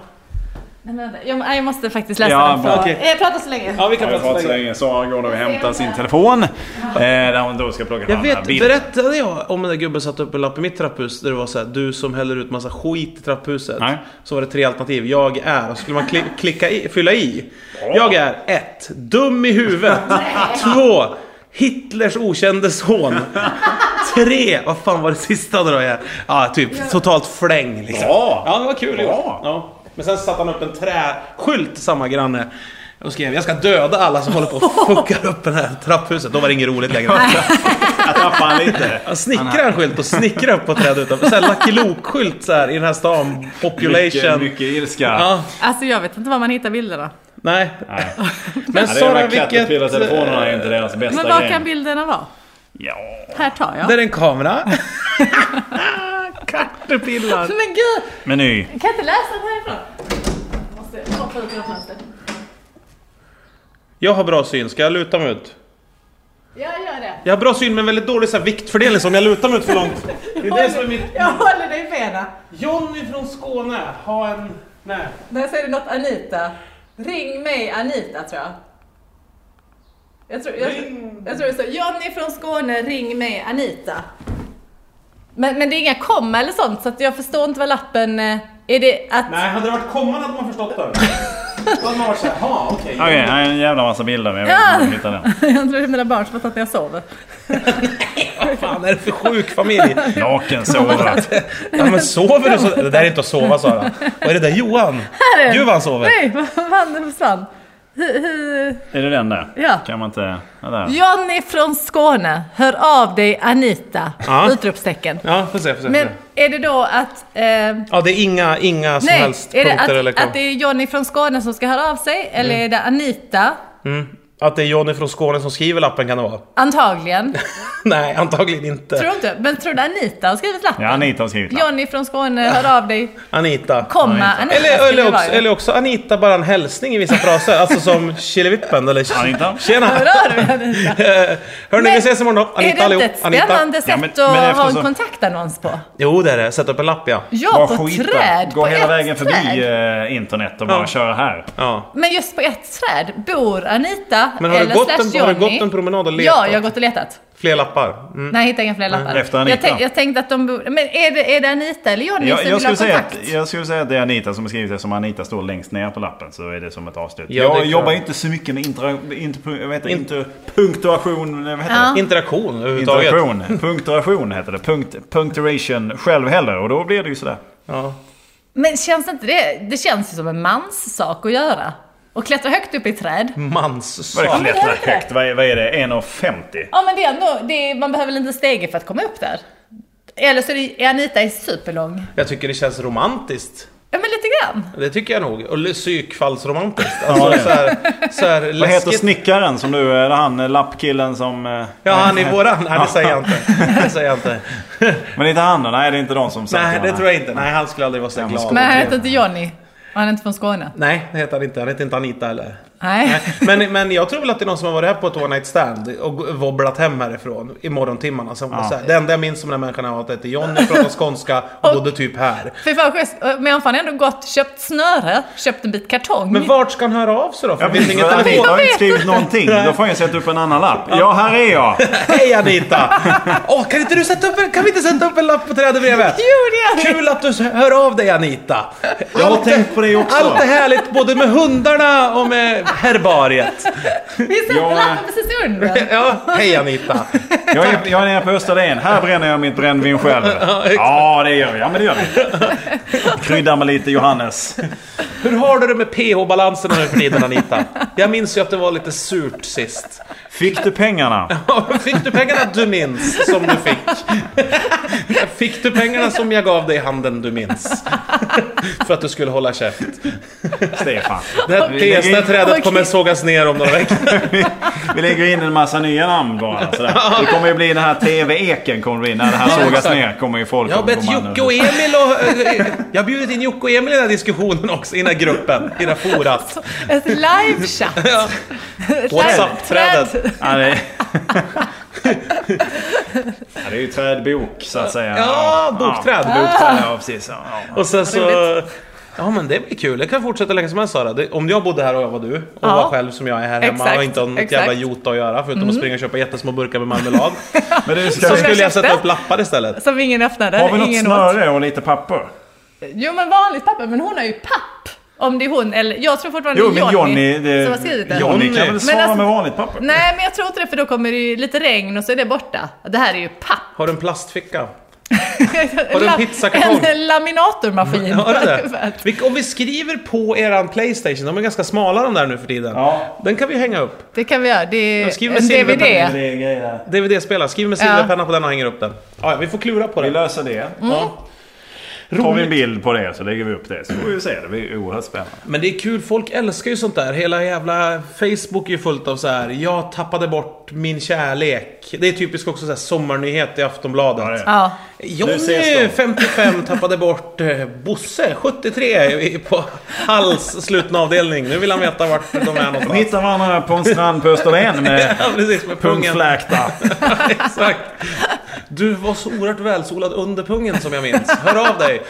Speaker 3: Nej, men vänta, Jag, nej, jag måste faktiskt läsa
Speaker 2: Ja,
Speaker 3: den.
Speaker 2: bra.
Speaker 3: För,
Speaker 1: Okej.
Speaker 3: eh, prata så länge.
Speaker 1: ja, vi kan
Speaker 2: Jag har
Speaker 1: prata
Speaker 2: pratat så
Speaker 1: länge.
Speaker 2: länge. Sara går och hämtar sin telefon. Eh, där hon då ska plocka fram
Speaker 1: Jag
Speaker 2: den här
Speaker 1: vet,
Speaker 2: bilden.
Speaker 1: berättade jag om den där gubben satte upp en lapp i mitt trapphus där det var så här, du som häller ut massa skit i trapphuset.
Speaker 2: Nej.
Speaker 1: Så var det tre alternativ. Jag är, och så skulle man kli- klicka i, fylla i. Jag är 1. Dum i huvudet. 2. Hitlers okände son. 3. Vad fan var det sista då? Jag? Ja, typ totalt fläng liksom.
Speaker 2: Bra!
Speaker 1: Ja, det var kul gjort.
Speaker 2: Bra.
Speaker 1: ja. Men sen satte han upp en träskylt, samma granne. Och skrev jag ska döda alla som håller på och fuckar upp det här trapphuset. Då var det inget roligt längre.
Speaker 2: Jag tappade han lite.
Speaker 1: Han snickrar en skylt och snickrar upp på träd utanför. Såhär Lucky Luke-skylt så här i den här stan.
Speaker 2: Mycket,
Speaker 1: Population.
Speaker 2: mycket ilska.
Speaker 1: Ja,
Speaker 3: Alltså jag vet inte var man hittar bilderna.
Speaker 1: nej.
Speaker 2: Nej.
Speaker 1: Men
Speaker 2: Ja, det är de
Speaker 1: Sara,
Speaker 2: här
Speaker 1: vilket... eh,
Speaker 2: Caterpillar-telefonerna är inte deras bästa
Speaker 3: Men var
Speaker 2: grej.
Speaker 3: kan bilderna vara?
Speaker 2: Ja.
Speaker 3: Här tar jag.
Speaker 1: Där är en kamera. Caterpillar.
Speaker 3: Men gud!
Speaker 2: Meny.
Speaker 3: Jag kan inte läsa den härifrån. Måste hoppa ut genom fönstret.
Speaker 1: Jag har bra syn, ska jag luta mig ut?
Speaker 3: Jag gör det.
Speaker 1: Jag har bra syn men väldigt dålig så här, viktfördelning så om jag lutar mig ut för långt. Det är det som är mitt...
Speaker 3: Jag håller dig i benen.
Speaker 1: Jonny från Skåne, ha en... Nej.
Speaker 3: Där säger du något Anita. Ring mig Anita tror jag. Jag tror, jag,
Speaker 1: Ring.
Speaker 3: jag tror det står Johnny från Skåne, ring mig Anita. Men, men det är inga komma eller sånt så att jag förstår inte vad lappen... eh, Är det att...
Speaker 1: Nej, hade det varit kommande hade man förstått det. Då hade man varit såhär, ha okej.
Speaker 2: Okej, okay, en jävla massa bilder men jag vet inte om jag hittar den.
Speaker 3: jag tror det är mina barn som har tagit när jag sover.
Speaker 1: Vad fan är det för sjuk familj?
Speaker 2: Naken sova.
Speaker 1: Ja men sover du så? Det där är inte att sova Sara. Vad är det där Johan?
Speaker 3: är den.
Speaker 1: Gud vad han sover.
Speaker 3: Nej, vad fan det försvann. Hu- hu-
Speaker 2: Är det den där?
Speaker 3: Ja.
Speaker 2: Kan man inte... Ja, där.
Speaker 3: Johnny från Skåne, hör av dig Anita!
Speaker 1: Ja.
Speaker 3: Utropstecken.
Speaker 1: Ja, får se, får se.
Speaker 3: Men
Speaker 1: får se.
Speaker 3: är det då att... ehm,
Speaker 1: Ja, det är inga, inga som
Speaker 3: Nej,
Speaker 1: helst
Speaker 3: är det
Speaker 1: punkter eller
Speaker 3: att, att det är Johnny från Skåne som ska höra av sig eller är det Anita?
Speaker 1: mm. att det är Johnny från Skåne som skriver lappen kan det vara.
Speaker 3: Antagligen.
Speaker 1: Nej, antagligen inte.
Speaker 3: tror inte. Men tror du Anita har skrivit lappen?
Speaker 2: Ja, Anita har skrivit lappen.
Speaker 3: Johnny från Skåne, hör av dig.
Speaker 1: Anita.
Speaker 3: Komma
Speaker 2: Anita.
Speaker 3: Anita.
Speaker 1: Eller,
Speaker 3: skulle
Speaker 1: eller,
Speaker 3: det vara
Speaker 1: också,
Speaker 3: ju.
Speaker 1: eller också Anita bara en hälsning i vissa fraser. Alltså som Killevippen eller
Speaker 2: Anita?
Speaker 1: Tjena!
Speaker 3: Hör av dig Anita.
Speaker 1: Hörni, vi
Speaker 3: Men
Speaker 1: ses imorgon då.
Speaker 3: Är
Speaker 1: Anita
Speaker 3: det inte ett
Speaker 1: allihop. Anita.
Speaker 3: spännande sätt
Speaker 2: Ja, men-
Speaker 3: att
Speaker 2: men
Speaker 3: ha
Speaker 2: eftersom-
Speaker 3: en kontaktannons på?
Speaker 1: Jo, det är det. Sätt upp en lapp ja.
Speaker 3: Ja, på
Speaker 2: skita.
Speaker 3: träd.
Speaker 2: Gå
Speaker 3: på
Speaker 2: hela
Speaker 3: ett
Speaker 2: vägen förbi
Speaker 3: träd.
Speaker 2: eh, internet och bara
Speaker 1: Ja.
Speaker 2: köra här.
Speaker 1: ja.
Speaker 3: Men just på ett träd bor Anita
Speaker 1: Men har du
Speaker 3: eller
Speaker 1: gått
Speaker 3: slash
Speaker 1: en-
Speaker 3: Johnny.
Speaker 1: har du gått en promenad och letat?
Speaker 3: Ja, jag har gått och letat.
Speaker 1: Fler lappar. Mm.
Speaker 3: Nej, jag hittade inga fler lappar.
Speaker 2: Efter Anita.
Speaker 3: Jag, tänk, jag tänkte att de borde... Men är det, är det Anita eller Johnny
Speaker 2: Jag,
Speaker 3: som
Speaker 2: jag,
Speaker 3: vill
Speaker 2: skulle
Speaker 3: ha
Speaker 2: säga att,
Speaker 3: kontakt?
Speaker 2: jag skulle säga att det är Anita som har skrivit eftersom Anita står längst ner på lappen så är det som ett avslut.
Speaker 1: Ja, det är
Speaker 2: jag
Speaker 1: klart.
Speaker 2: jobbar ju inte så mycket med intra, inter, vad heter, det? interpunktuation, vad heter det?
Speaker 1: Interaktion överhuvudtaget.
Speaker 2: Interaktion. Punktuation heter det. Punkt, punctuation själv heller och då blir det ju sådär.
Speaker 1: Ja.
Speaker 3: Men känns inte det... Det känns ju som en mans sak att göra. Och klättra högt upp i träd.
Speaker 1: Mm. Manssak.
Speaker 2: Vad är det
Speaker 1: Ja,
Speaker 2: klättra
Speaker 3: det heter det.
Speaker 2: högt? Vad är, vad är det? 1,50?
Speaker 3: Ja, men det är ändå... Det är, man behöver väl inte stege för att komma upp där? Eller så är det, är Anita är superlång.
Speaker 1: Jag tycker det känns romantiskt.
Speaker 3: Ja, men lite grann.
Speaker 1: Det tycker jag nog. Och psykfallsromantiskt. Alltså
Speaker 2: det.
Speaker 1: så här, så här läskigt.
Speaker 2: Vad heter snickaren som du, är det han eh, lappkillen som... eh,
Speaker 1: Ja, han är våran. Nej, det säger jag inte. Det säger jag inte.
Speaker 2: Men det är inte han då? Nej, det är inte de som
Speaker 1: Nej, det
Speaker 2: honom.
Speaker 1: tror jag inte. Nej, han skulle aldrig vara så
Speaker 2: han
Speaker 1: glad.
Speaker 2: skulle-
Speaker 3: Men han heter inte Johnny. Och han är inte från Skåne.
Speaker 1: Nej, det heter han inte. Han heter inte Anita eller.
Speaker 3: Nej.
Speaker 1: Nej, Men, men jag tror väl att det är någon som har varit här på ett one night stand och g- wobblat hem härifrån i morgontimmarna. Som var så här, det enda jag minns om den här människan var att det hette Johnny, pratade skånska och
Speaker 3: Och-
Speaker 1: bodde typ här.
Speaker 3: Fy fan vad schysst. Men han har ändå gått, köpt snöre, köpt en bit kartong.
Speaker 1: Men vart ska han höra av sig då? För
Speaker 2: Jag
Speaker 1: det finns
Speaker 2: vet
Speaker 1: ingen
Speaker 2: inte,
Speaker 1: telefon.
Speaker 2: Anita har ju inte skrivit någonting. Då får jag sätta upp en annan lapp. Ja, här är jag!
Speaker 1: Hej Anita! Åh, kan, inte du sätta upp en, kan vi inte sätta upp en lapp på trädet bredvid?
Speaker 3: Jo, det gör vi.
Speaker 1: Kul att du hör av dig Anita!
Speaker 2: Jag har tänkt på det också.
Speaker 1: Allt är härligt både med hundarna och med herbariet.
Speaker 3: Vi sätter
Speaker 2: Ja.
Speaker 3: lappen precis under.
Speaker 1: Ja, hej Anita!
Speaker 2: Jag är, jag är nere på Österlen. Här bränner jag mitt brännvin själv. Ja, det gör vi. Ja, men det gör vi. Kryddar med lite Johannes.
Speaker 1: Hur har du det med pH-balanserna nu för tiden Anita? Jag minns ju att det var lite surt sist.
Speaker 2: Fick du pengarna?
Speaker 1: Fick du pengarna du minns som du fick? Fick du pengarna som jag gav dig i handen du minns? För att du skulle hålla käft.
Speaker 2: Stefan.
Speaker 1: Det här testa trädet kommer sågas ner om några veckor.
Speaker 2: Vi lägger in en massa nya namn bara. Sådär. Det kommer ju bli den här TV-eken. Kommer det bli. När det här sågas
Speaker 1: exakt.
Speaker 2: ner kommer ju folk
Speaker 1: Jag har
Speaker 2: att
Speaker 1: bett
Speaker 2: komma
Speaker 1: Jocke
Speaker 2: nu.
Speaker 1: och Emil och... eh, Jag har bjudit in Jocke och Emil i den här diskussionen också, i den här gruppen, i det här forat.
Speaker 3: Ett live-chat.
Speaker 1: Ja.
Speaker 3: Ett
Speaker 1: WhatsApp-trädet.
Speaker 3: live-träd.
Speaker 2: Ja, det... är- ja, det är ju trädbok så att säga.
Speaker 1: Ja, bokträd.
Speaker 2: Ja, bokträd, ja precis. Ja, ja.
Speaker 1: Och sen så... Ja men det blir kul, jag kan fortsätta länge som helst Sara. Det, om jag bodde här och jag var du och
Speaker 3: Ja.
Speaker 1: var själv som jag är här hemma
Speaker 3: Exakt,
Speaker 1: och inte har något
Speaker 3: exakt.
Speaker 1: jävla jota att göra förutom att springa och köpa jättesmå burkar med marmelad.
Speaker 2: Men du, ska
Speaker 1: så
Speaker 2: vi...
Speaker 1: skulle jag
Speaker 3: köpte.
Speaker 1: sätta upp lappar istället.
Speaker 3: Som ingen öppnade.
Speaker 2: Har vi något
Speaker 3: ingen åt.
Speaker 2: snöre och lite papper?
Speaker 3: Jo men vanligt papper, men hon har ju papp. Om det är hon, eller jag tror fortfarande
Speaker 2: Jo,
Speaker 3: det är
Speaker 2: men Johnny... Det...
Speaker 3: som har skrivit den.
Speaker 2: Johnny kan
Speaker 1: Men
Speaker 2: väl svara
Speaker 3: alltså-
Speaker 2: med vanligt papper?
Speaker 3: Nej men jag tror inte det för då kommer det ju lite regn och så är det borta. Det här är ju papp.
Speaker 1: Har du en plastficka?
Speaker 3: Har
Speaker 1: du en pizzakartong?
Speaker 3: En laminatormaskin.
Speaker 1: Har du det? Vi- Om vi skriver på eran Playstation, de är ganska smala de där nu för tiden.
Speaker 2: Ja.
Speaker 1: Den kan vi hänga upp.
Speaker 3: Det kan vi göra. Det
Speaker 1: Jag
Speaker 3: är
Speaker 1: skriver med
Speaker 3: en DVD.
Speaker 1: silverpenna.
Speaker 2: Det är grejer där.
Speaker 1: DVD-spelare, skriv med silverpenna på den och hänger upp den. Ja, ja, vi får klura på
Speaker 2: Vi
Speaker 1: det.
Speaker 2: löser det. Tar vi en bild på det så lägger vi upp det. Så får vi se. Det blir oerhört spännande.
Speaker 1: Men det är kul, folk älskar ju sånt där. Hela jävla Facebook är ju fullt av så här. jag tappade bort min kärlek. Det är typiskt också så här sommarnyhet i
Speaker 2: Ja, det
Speaker 1: Aftonbladet.
Speaker 2: är.
Speaker 3: Ja.
Speaker 2: Nu ses
Speaker 1: Jonny,
Speaker 2: de.
Speaker 1: 55, tappade bort eh, Bosse, 73, i- på Hals slutna avdelning. Nu vill han veta vart de är
Speaker 2: De
Speaker 1: någonstans.
Speaker 2: hittar varandra på en strand på Österlen med
Speaker 1: Ja, precis, med pungen.
Speaker 2: pungfläktar.
Speaker 1: Exakt. Du var så oerhört välsolad under pungen som jag minns. Hör av dig.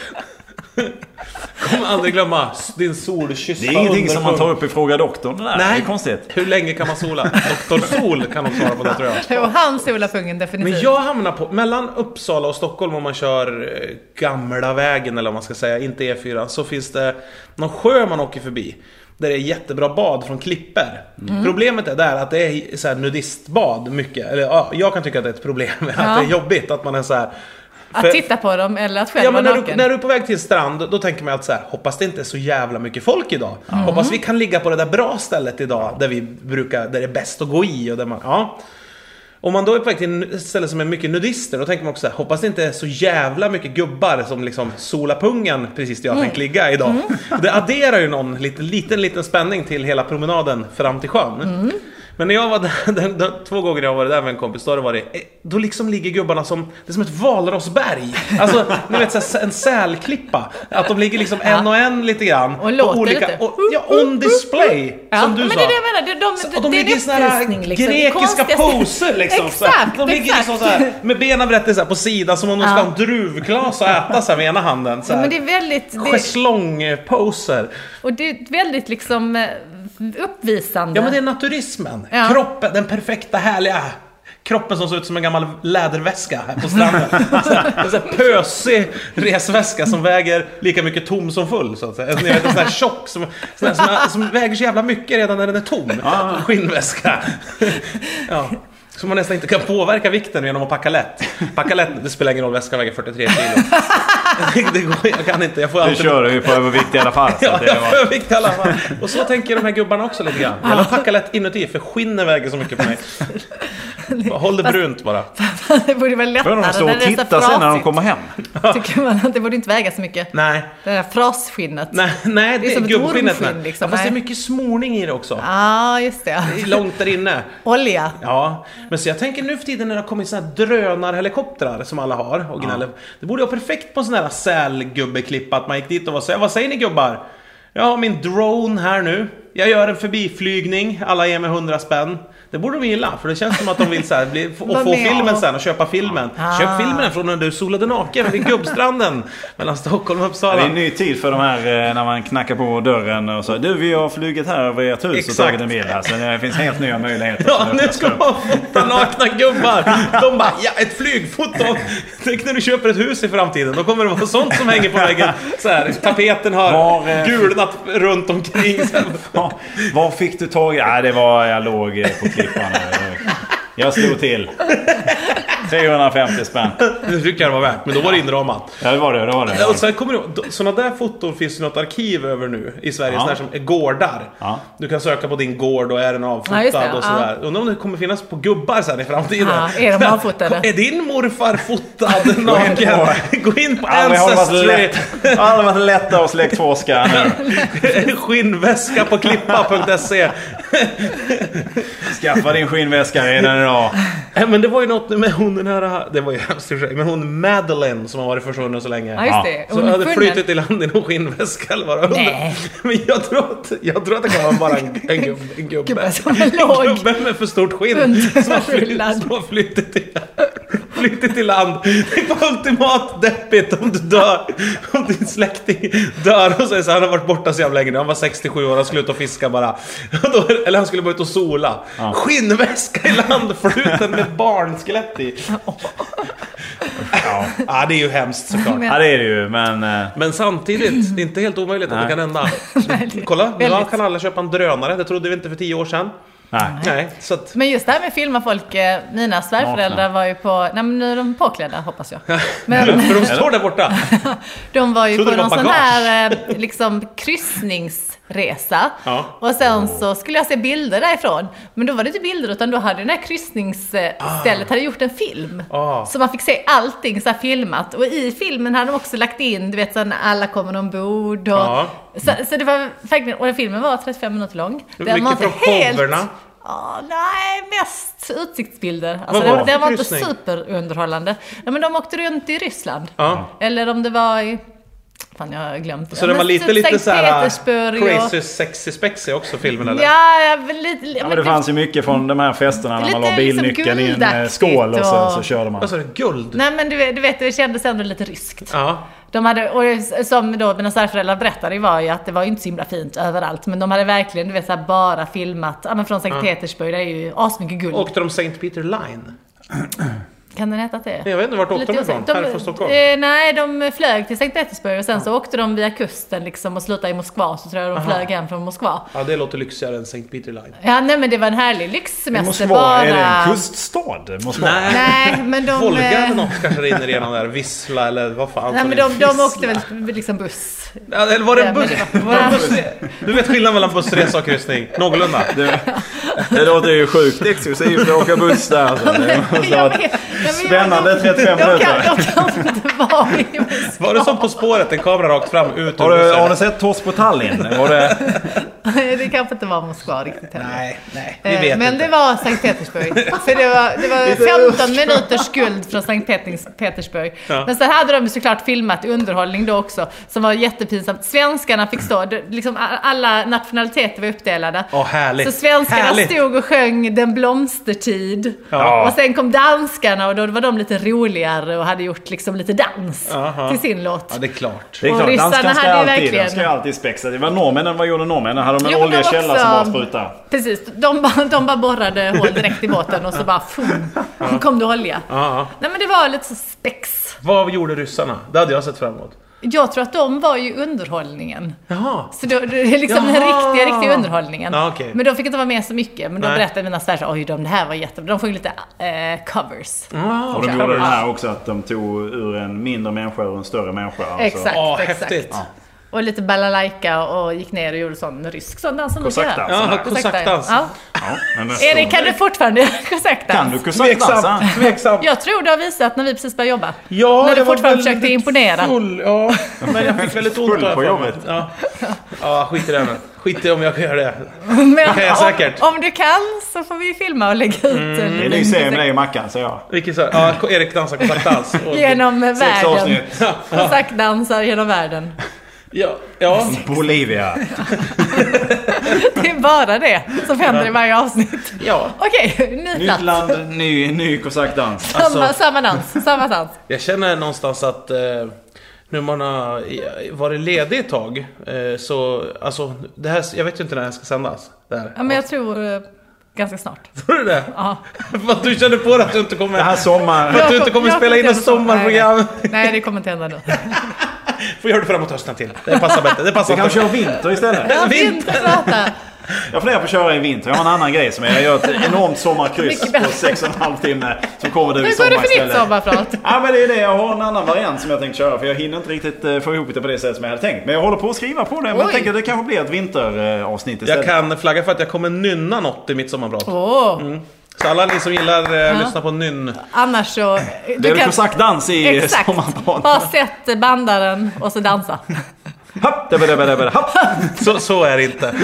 Speaker 1: Kommer aldrig glömma din solkyss.
Speaker 2: Det är ingenting som man tar upp i Fråga doktorn. Det där. Det
Speaker 1: Nej.
Speaker 2: är konstigt.
Speaker 1: Hur länge kan man sola? Doktor Sol kan nog svara på det tror jag.
Speaker 3: Och han solar pungen definitivt.
Speaker 1: Men jag hamnar på, mellan Uppsala och Stockholm om man kör eh, gamla vägen eller vad man ska säga, inte E4, så finns det någon sjö man åker förbi. Där det är jättebra bad från klippor.
Speaker 3: Mm.
Speaker 1: Problemet är där att det är så här nudistbad mycket. Eller ja, jag kan tycka att det är ett problem. Att det är jobbigt att man är så här.
Speaker 3: Att
Speaker 1: För-
Speaker 3: titta på dem eller att själv
Speaker 1: Ja men
Speaker 3: vara
Speaker 1: när du,
Speaker 3: naken.
Speaker 1: när du är på väg till strand, då tänker man ju att så här, hoppas det inte är så jävla mycket folk idag. Hoppas vi
Speaker 3: Mm.
Speaker 1: kan ligga på det där bra stället idag, där vi brukar, där det är bäst att gå i och där man, ja. Om man då är på väg till ett ställe som är mycket nudister, då tänker man också så här, hoppas det inte är så jävla mycket gubbar som liksom solar pungen precis där jag tänkt ligga idag. Det adderar ju någon liten, liten, liten spänning till hela promenaden fram till sjön. Men när jag var där, den, den, två gånger jag har varit där med en kompis, då har det varit, eh, då liksom ligger gubbarna som, det är som ett valrosberg. Alltså, ni vet så här, en sälklippa. Att de ligger liksom en och en lite grann.
Speaker 3: Och låter lite. Mm,
Speaker 1: och, ja, on display,
Speaker 3: Ja,
Speaker 1: som du
Speaker 3: men
Speaker 1: sa.
Speaker 3: det är det jag menar. Det, de,
Speaker 1: Så-
Speaker 3: det,
Speaker 1: och de
Speaker 3: det är
Speaker 1: ligger i
Speaker 3: en
Speaker 1: såna här
Speaker 3: uppvisning, liksom. Det är
Speaker 1: grekiska
Speaker 3: konstigaste-
Speaker 1: poser liksom. så här.
Speaker 3: exakt,
Speaker 1: De ligger
Speaker 3: exakt.
Speaker 1: liksom så här, med benen brett så här, på sidan som om de ska ha en druvglas och äta så här, med ena handen. Så
Speaker 3: Ja,
Speaker 1: här.
Speaker 3: men det är väldigt, det,
Speaker 1: Schäslongposer.
Speaker 3: och det är väldigt liksom eh, uppvisande.
Speaker 1: Ja men det är naturismen.
Speaker 3: Ja.
Speaker 1: Kroppen, den perfekta härliga kroppen som såg ut som en gammal läderväska här på stranden. Så här, en sån här pösig resväska som väger lika mycket tom som full, så att säga. En, ni vet, en sån här tjock som, sån här, sån här, som väger så jävla mycket redan när den är tom. Skinnväska. Ja. Som man nästan inte kan påverka vikten genom att packa lätt. Packa lätt, det spelar ingen roll, väskan väger 43 kilo. Det går, jag kan inte, jag får
Speaker 2: Du
Speaker 1: alltid
Speaker 2: kör ju på övervikt i alla fall. Så
Speaker 1: Ja,
Speaker 2: att det
Speaker 1: jag
Speaker 2: var...
Speaker 1: är övervikt i alla fall. Och så tänker de här gubbarna också lite grann. Jag packar lätt inuti, för skinnet väger så mycket på mig. Bara, Håll det brunt bara.
Speaker 3: det borde vara
Speaker 2: För
Speaker 3: lättare
Speaker 2: de står
Speaker 3: när
Speaker 2: och
Speaker 3: det är så
Speaker 2: tittar sen när de
Speaker 3: frasigt.
Speaker 2: kommer hem.
Speaker 3: Tycker man att det borde inte väga så mycket.
Speaker 1: Nej,
Speaker 3: Det där frasskinnet. Ja,
Speaker 1: nej, nej det,
Speaker 3: Det är som
Speaker 1: är
Speaker 3: ett
Speaker 1: gubbskinnet.
Speaker 3: ormskinn,
Speaker 1: nej.
Speaker 3: liksom.
Speaker 1: Ja, fast det är
Speaker 3: Nej.
Speaker 1: mycket smorning i det också.
Speaker 3: ah, just det.
Speaker 1: Det är Långt där inne.
Speaker 3: Olja.
Speaker 1: Ja, men så jag tänker nu för tiden när det har kommit såna här drönarhelikoptrar som alla har och gnäller. Det borde vara perfekt på en sån här sälgubbeklippa att man gick dit och var så här, vad säger ni gubbar? Jag har min drone här nu. Jag gör en förbiflygning. Alla ger mig 100 spänn. Det borde de gilla, för det känns som att de vill så här, bli, få,
Speaker 3: Vara
Speaker 1: få
Speaker 3: med
Speaker 1: filmen
Speaker 3: och-
Speaker 1: sen och köpa filmen. Köp filmen från när du solade naken vid Gubbstranden mellan Stockholm och
Speaker 2: Det
Speaker 1: Uppsala.
Speaker 2: är en ny tid för de här eh, när man knackar på dörren och så. Du, vi har flugit här över ert hus och
Speaker 1: Exakt.
Speaker 2: tagit en bild här. Så det finns helt nya möjligheter.
Speaker 1: Ja, nu ska man fota nakna gubbar. De bara, ja ett flygfoto. Tänk när du köper ett hus i framtiden. Då kommer det vara sånt som hänger på väggen. Så här, tapeten
Speaker 2: Var, eh,
Speaker 1: har gulnat runt omkring. Så här,
Speaker 2: Ja, Var fick du tag i? Nej, det var jag låg eh, på klippan. Jag slog till. 350 spänn.
Speaker 1: Det tycker jag det var värt, men då var det inramat.
Speaker 2: Ja, det var det. det, var det.
Speaker 1: Och sen kommer du, sådana där foton finns ju något arkiv över nu i Sverige,
Speaker 2: Ja.
Speaker 1: sådana här som gårdar.
Speaker 2: Ja,
Speaker 1: Du kan söka på din gård och är den
Speaker 3: Ja,
Speaker 1: avfotad
Speaker 3: just det,
Speaker 1: och sådär. Undrar om det kommer finnas på gubbar sen i framtiden.
Speaker 3: Ja, är de avfotade?
Speaker 1: Är din morfar fotad
Speaker 2: in
Speaker 1: naken?
Speaker 2: på-
Speaker 1: Gå in på
Speaker 2: Aldrig har det varit
Speaker 1: Ancestry.
Speaker 2: lätt- aldrig varit lättare att släktforska än nu.
Speaker 1: Skinnväska på klippa.se.
Speaker 2: Skaffa din skinnväska redan idag.
Speaker 1: Nej, Men det var ju något med hon den här, det var ju hemskt i och för sig, men hon Madeleine som har varit försvunnen så länge.
Speaker 3: Ja, just det.
Speaker 1: Så
Speaker 3: Hon är
Speaker 1: hade
Speaker 3: funnen.
Speaker 1: flyttit i land i någon skinnväska eller vad det var.
Speaker 3: Nej.
Speaker 1: Men jag tror, att, jag tror att det kan vara bara en, en, gub, en gubbe.
Speaker 3: Gubbe som
Speaker 1: en
Speaker 3: låg.
Speaker 1: gubbe med för stort skinn
Speaker 3: Runt
Speaker 1: som har, flytt,
Speaker 3: rullad.
Speaker 1: som har flyttit, i, flyttit i land. Det var ultimat deppigt om du dör. Om din släkting dör och säger så här, han har varit borta så jävla länge nu. Han var 67 år, han skulle ut och fiska bara. Och Då, eller han skulle bara ut och sola. Skinnväska i land, fluten med barnskelett i.
Speaker 2: Ja.
Speaker 1: Ja, det är ju hemskt såklart.
Speaker 2: ja, det är det ju. Men eh,
Speaker 1: Men samtidigt, det är inte helt omöjligt att det
Speaker 2: Nej.
Speaker 1: kan hända. Kolla, nu kan alla köpa en drönare. Det trodde vi inte för tio år sedan.
Speaker 2: nej.
Speaker 1: Nej, så att...
Speaker 3: Men just det här med filma folk, eh, mina svärföräldrar
Speaker 2: Nakna.
Speaker 3: var ju på, nej men nu är de påklädda hoppas jag. Men
Speaker 1: För de står där borta.
Speaker 3: de var ju
Speaker 1: Trodde
Speaker 3: på
Speaker 1: det
Speaker 3: någon
Speaker 1: var
Speaker 3: sån
Speaker 1: bagage.
Speaker 3: här eh, liksom kryssningsresa.
Speaker 1: Ja.
Speaker 3: Och sen så skulle jag se bilder därifrån. Men då var det inte bilder utan då hade det här kryssningsstället hade gjort en film.
Speaker 1: Ah.
Speaker 3: Så man fick se allting så här filmat. Och i filmen hade de också lagt in, du vet sån alla kommer ombord och...
Speaker 1: Ja.
Speaker 3: Så, så det var verkligen, och den filmen var 35 minuter lång.
Speaker 1: Mycket från showerna.
Speaker 3: Ja, nej, mest utsiktsbilder. Alltså,
Speaker 1: Vad var
Speaker 3: den,
Speaker 1: det för
Speaker 3: den var inte
Speaker 1: kryssning?
Speaker 3: superunderhållande. Nej, men de åkte runt i Ryssland.
Speaker 1: Ja.
Speaker 3: Eller om det var i... Fan, jag har glömt.
Speaker 1: Så
Speaker 3: Ja,
Speaker 1: den var
Speaker 3: men
Speaker 1: lite,
Speaker 3: typ
Speaker 1: lite
Speaker 3: Sankt
Speaker 1: såhär
Speaker 3: Petersburg
Speaker 1: crazy sexy spexy också filmen eller?
Speaker 3: Ja, ja, men lite...
Speaker 2: Ja, men det fanns ju mycket från de här festerna när man
Speaker 3: Lite
Speaker 2: la bilnyckeln
Speaker 3: liksom
Speaker 2: i en eh, skål och så,
Speaker 3: guldaktigt
Speaker 2: så
Speaker 3: och-
Speaker 2: körde man.
Speaker 1: Vad sa du? Guld?
Speaker 3: Nej, men du, vet- du vet, det kändes ändå lite ryskt.
Speaker 1: Ja.
Speaker 3: De hade, och det- som då mina särföräldrar berättade var ju att det var ju inte så himla fint överallt. Men de hade verkligen, du vet, så här, bara filmat. Ja, men från Sankt Petersburg, det är ju asmycket guld.
Speaker 1: Åkte de St. Peter Line?
Speaker 3: kan den heta det?
Speaker 1: Jag vet inte vart åkte de
Speaker 3: Lite
Speaker 1: ifrån?
Speaker 3: osäkert.
Speaker 1: Härifrån Stockholm?
Speaker 3: Eh, nej, de flög till Sankt Petersburg och sen så åkte de via kusten liksom och slutade i Moskva. Så tror jag de flög hem från Moskva.
Speaker 1: Ja, det låter lyxigare än St. Peter Line.
Speaker 3: Ja, nej men det var en härlig lyxsemester.
Speaker 2: Moskva,
Speaker 3: bara...
Speaker 2: är det en kuststad? Moskva?
Speaker 1: Nej.
Speaker 3: Nej, men de...
Speaker 1: Volga
Speaker 3: eh,
Speaker 1: eller något kanske rinner igenom där. Vissla eller vad fan.
Speaker 3: Nej
Speaker 1: som
Speaker 3: men
Speaker 1: är-
Speaker 3: de, de åkte väl liksom buss.
Speaker 1: Ja, Eller var det en
Speaker 3: Nej,
Speaker 1: buss?
Speaker 3: men det var-
Speaker 1: Var det en buss? Du vet skillnaden mellan bussresa och kryssning? Någorlunda?
Speaker 2: Det, det låter ju sjukt exklusivt att åka buss där. Alltså. Det måste ha
Speaker 3: Jag vet-
Speaker 2: varit spännande
Speaker 3: nej, men jag-
Speaker 2: 35
Speaker 3: De kan,
Speaker 2: minuter.
Speaker 3: de kan inte vara i buss.
Speaker 1: Var det som På spåret? En kamera rakt fram ut
Speaker 2: Har du,
Speaker 1: bussen?
Speaker 2: har du sett Tors på Tallinn? Var det,
Speaker 3: Det kanske inte var Moskva riktigt heller.
Speaker 1: Nej, nej. Vi
Speaker 3: Eh,
Speaker 1: vet
Speaker 3: Men
Speaker 1: inte.
Speaker 3: det var Sankt Petersburg. För det var, det var 15 minuters guld från Sankt Petings- Petersburg.
Speaker 1: Ja.
Speaker 3: Men sen hade de ju såklart filmat underhållning då också, som var jättepinsamt. Svenskarna fick stå, det- liksom a- alla nationaliteter var uppdelade.
Speaker 1: Åh, härligt.
Speaker 3: Så svenskarna
Speaker 1: Härligt.
Speaker 3: stod och sjöng Den blomstertid.
Speaker 1: Ja.
Speaker 3: Och sen kom danskarna och då var de lite roligare och hade gjort liksom lite dans
Speaker 1: Aha.
Speaker 3: till sin låt.
Speaker 1: Ja, det är klart.
Speaker 2: Det är
Speaker 3: Och
Speaker 2: klart,
Speaker 3: ryssarna
Speaker 2: danskan ska
Speaker 3: hade ju
Speaker 2: alltid,
Speaker 3: verkligen-
Speaker 2: den ska alltid spexa. Det var norrmännen, vad gjorde norrmännen? Hade de
Speaker 3: Jo,
Speaker 2: en
Speaker 3: men de
Speaker 2: oljekälla
Speaker 3: också-
Speaker 2: som bara sprutade?
Speaker 3: Precis, de, bara- de bara borrade hål direkt i båten och så bara fum, kom det olja.
Speaker 1: Ja.
Speaker 3: Nej men det var lite så spex.
Speaker 1: Vad gjorde ryssarna? Det hade jag sett fram emot.
Speaker 3: Jag tror att de var ju underhållningen.
Speaker 1: Jaha.
Speaker 3: Så då, det är liksom den
Speaker 1: Jaha.
Speaker 3: riktiga, riktiga underhållningen.
Speaker 1: Ja, okej.
Speaker 3: Men de fick inte vara med så mycket. Men då
Speaker 1: Nej.
Speaker 3: berättade mina svärsar, oj de, det här var jättebra. De sjöng lite eh, covers.
Speaker 1: Ah,
Speaker 2: Och de
Speaker 3: Okej.
Speaker 2: gjorde det
Speaker 3: Ja.
Speaker 2: här också att de tog ur en mindre människa ur en större människa. Alltså.
Speaker 3: Exakt,
Speaker 1: ah,
Speaker 3: exakt.
Speaker 1: häftigt.
Speaker 3: Och lite balalaika och gick ner och gjorde sån rysk sån dans som de ska
Speaker 2: Kosackdans.
Speaker 3: göra.
Speaker 1: Ja,
Speaker 3: ja.
Speaker 1: kosackdans.
Speaker 3: ja.
Speaker 2: Ja, men nästan.
Speaker 3: Erik, kan du fortfarande göra kosackdans?
Speaker 2: Kan du alltså? kosackdansa?
Speaker 1: Tveksamt, tveksamt.
Speaker 3: Jag tror du har visat när vi precis började jobba.
Speaker 1: Ja,
Speaker 3: när du
Speaker 1: jag var
Speaker 3: fortfarande
Speaker 1: väldigt
Speaker 3: försökte imponera.
Speaker 1: Full, ja. Men jag fick väldigt ont
Speaker 2: Full
Speaker 1: har jag för
Speaker 2: på
Speaker 1: mig.
Speaker 2: jobbet.
Speaker 1: Ja. ja, skit i det nu. Skit i om jag kan göra det.
Speaker 3: Men
Speaker 1: kan jag
Speaker 3: om,
Speaker 1: säkert. Mm,
Speaker 3: om du kan så får vi filma och lägga ut
Speaker 2: Det är en ny serie med dig och Mackan, säger jag.
Speaker 1: Vilket så här, ja, Erik dansar kontaktdans. Och-
Speaker 3: genom
Speaker 2: Sex
Speaker 3: världen.
Speaker 2: avsnitt.
Speaker 3: Kosackdansar genom världen.
Speaker 1: Ja, ja.
Speaker 2: Bolivia.
Speaker 3: Det är bara det som händer i varje avsnitt.
Speaker 1: ja.
Speaker 3: Okej, ny
Speaker 2: Nytt
Speaker 3: plats.
Speaker 2: land, ny, ny kosackdans.
Speaker 3: Samma,
Speaker 2: Alltså,
Speaker 3: samma dans, samma dans.
Speaker 1: Jag känner någonstans att eh, nu man har eh, varit ledig ett tag eh, så, alltså, det här, jag vet ju inte när det här ska sändas. Där.
Speaker 3: Ja, men jag tror eh, ganska snart.
Speaker 1: Tror du det?
Speaker 3: Ja.
Speaker 1: För att du känner på dig att du inte
Speaker 2: det här
Speaker 1: kommer,
Speaker 2: sommar...
Speaker 1: att du inte kommer
Speaker 3: Jag
Speaker 1: spela in ett
Speaker 3: kommer inte göra så.
Speaker 1: sommarprogram.
Speaker 3: Nej, nej. Nej, det kommer inte hända nu.
Speaker 1: Får göra det framåt hösten till. Det passar bättre. Det passar
Speaker 2: Vi kan
Speaker 1: inte.
Speaker 2: köra vinter istället.
Speaker 3: Ja,
Speaker 1: Vinter.
Speaker 3: Vinterprata.
Speaker 2: Jag funderar på att köra i vinter. Jag har en annan grej som är. Jag gör ett enormt sommarkryss
Speaker 3: Mycket
Speaker 2: på
Speaker 3: bättre.
Speaker 2: sex och en halv timme. Så kommer du i
Speaker 3: Nu
Speaker 2: sommar
Speaker 3: går det för ditt
Speaker 2: istället.
Speaker 3: sommarprat.
Speaker 2: Ja men det är det. Jag har en annan variant som jag tänkte köra. För jag hinner inte riktigt eh, få ihop det på det sätt som jag hade tänkt. Men jag håller på att skriva på det. Men jag
Speaker 3: Oj.
Speaker 2: tänker att det kanske blir ett vinteravsnitt istället.
Speaker 1: Jag kan flagga för att jag kommer nynna något i mitt sommarprat.
Speaker 3: Åh,
Speaker 1: Mm. Så alla ni som gillar eh, lyssna på nynn.
Speaker 3: annars så... eh,
Speaker 2: Det är väl kosackdans i eh,
Speaker 3: Exakt. Bara
Speaker 2: sommarprat.
Speaker 3: sätt bandaren och så dansa.
Speaker 2: Hopp, debbe, debbe, debbe, hopp.
Speaker 1: Så, så är det inte.